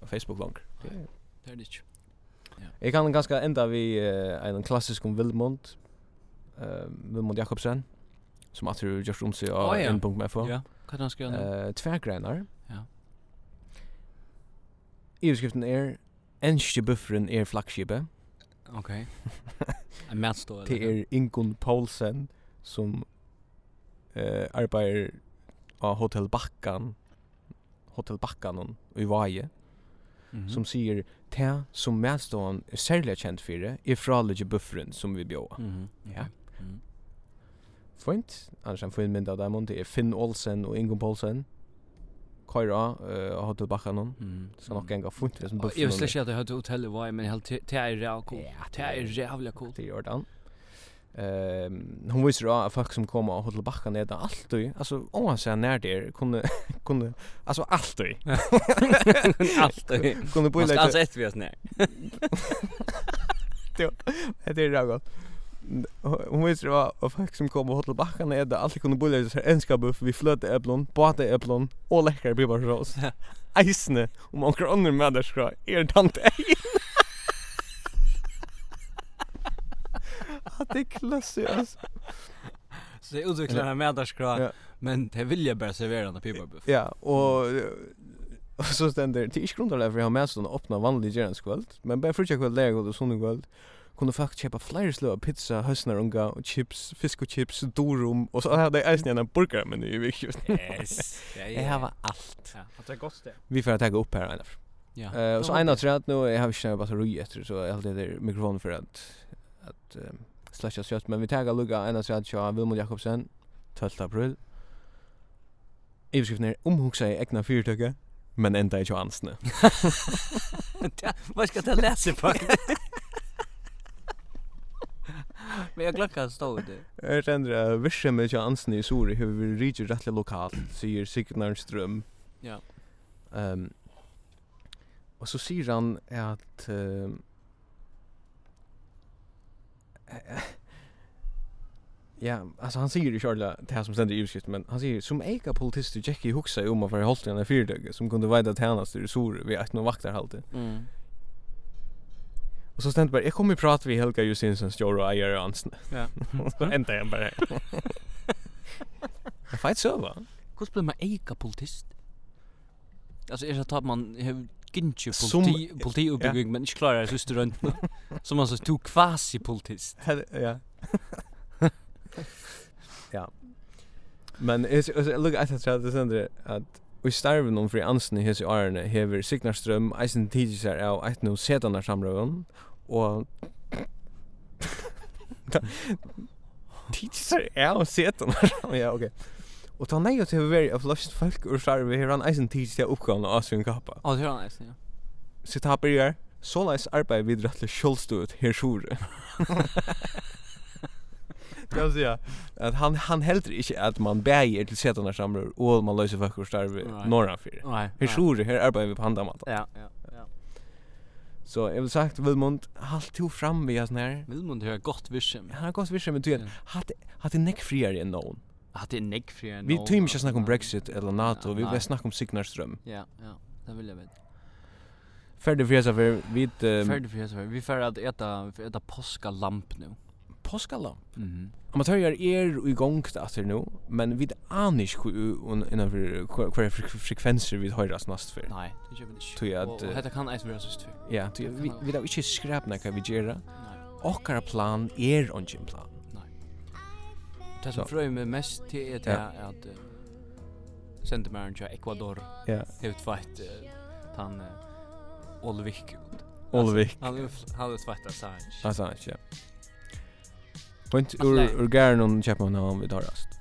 på Facebook långt.
det er det ikke.
Jag kan ganska ända vid eh, en klassisk om Vilmond. Eh, Vilmond Jakobsen. Som att du just om sig av
Å, ja.
en punkt med för.
Ja, hva er det han skriver nå?
Eh, tvärgrenar.
Ja.
I beskriften är Enske er, bufferen er flaggskipet.
Ok. En matstå,
Det er Ingun Poulsen som eh, arbeider av Hotel Bakkan Hotel Bakkan i Vaje
Mhm.
som sier det som medstående er særlig kjent for det er fralige bufferen som vi bjør.
Mhm.
Ja. Fint. Annars en fin mynd av dem. Det er Finn Olsen og Ingun Poulsen. Køyra uh, Hotel Bakkanon.
Mm.
Så nok enga fint vi som
Jeg visste
bufferen.
ikke at jeg hadde hotellet var i, men jeg held til- til er rævlig cool.
Ja,
Det er rævlig cool.
Det gjør den. Ehm hon visste då att folk som kommer och håller backa ner där alltid alltså om man säger när det är, kunde kunde alltså alltid
Alt er
kunde på
Man skal
lite
altså etter vi oss ned.
Det är rätt gott. Hon visste det var och folk som kom och hotell backarna är där alltid kunde bolla så en buff vi flöte äpplon, båta äpplon och läckare bibarsås. Isne om man kronor med där skra er tant ej. Att det klassas.
Så det utvikler en medarskra,
Ja.
men det vil jeg bare servere en pipabuff.
Ja, och och så ständer det er är inte grundarläge för jag har med sådana öppna vanlig gärnskväll, men bara frukta kväll, läge och sådana kväll kunde faktiskt köpa flera slå av pizza, höstnar unga och chips, fisk och chips, dorum och så hade jag äsna en burgare men i veckan.
Yes.
Jag har allt.
er- Ja, det er godt det.
Vi får ta upp här ena.
Ja.
Eh och så ena tror jag att nu jag har inte batteri efter så jag hade det er mikrofon för att att um, slasha kött men vi tagar lugga ena tror jag att jag Vilmund Jakobsen 12 april. I beskriften är omhuxa i egna fyrtöke men ända i chansne.
Vad ska jag läsa på? Men jag glömde att stå det.
Jag tänder att vissa med chansne i Sori hur vi riker rättliga lokalt säger Signar Ström.
Ja.
Ehm och så säger han att ehm Ja, alltså han säger ju själva det här som ständer i utskriften, men han säger som eka politister Jackie Huxa om att vara hållt i den här fyrdögge som kunde vajda till hennes till resor vid att någon vaktar halvtid.
Mm.
Och så ständer bara, jag kommer prata vid Helga Justinsson Stjorr och Eier Hansen.
Ja.
så ändar jag bara. Jag får inte söva.
Hur blir man eka politist? Alltså är det att man har gynnsju
Som-
politi, politiuppbygging men inte klarar det sista röntna. Som man så tog kvasi politist.
Hade, ja. ja. Men is is look at that det sender at um vi starven om fri ansen i hese arne hever Signarstrøm, eisen tidis er av eit no setanar samrøven, og teacher är och sätter ja okej. Och ta nej till very of lost folk och så vi här han eisen teacher till uppgåvan och sin kappa.
Ja, det är nice, ja.
Så ta på det. Så läs arbete vid rätt skjolstut här sjure. Det vill säga att han han helt inte att man bäger till sättarna samlar och man löser folk och starve
Nei.
norra för.
Nej.
Här sjure här arbetar vi på handamata.
Ja, ja, ja.
Så jag vill sagt Vilmund halt to fram vi sån här.
Vilmund har gott virksomhet.
Han har gått visst med tyn.
Ja.
Hatt hatt en neck friare än någon.
Att det är negg för en.
Vi tyr mig snakka om Brexit eller NATO, vi
Nei.
vill snakka um om Signarström.
Ja, ja. Det vill jag veta.
Färdig för så för vid
Färdig för jag Vi får att äta, vi får äta påskalamp nu.
påskala.
Mhm.
Amatörer är i gång efter nu, men vid anish innanför kvar frekvenser vi höjras näst för.
Nej, det gör vi inte.
Tror jag
Och-
att, eh,
och Detta kan ens vara så styr.
Ja, ty- vi vi har inte skräpna kan vi göra.
Nej.
Okkara plan är on gym plan.
Det som
Så.
fröjer mig mest till är det
Ja.
här att uh, sendemären till Ecuador
Ja.
har utfajt uh, han uh, Olvik.
Olvik.
Han har- han har utfajt Assange.
Alltså, ja. Point
Nei.
ur ur garnon chapman han vi tar rast.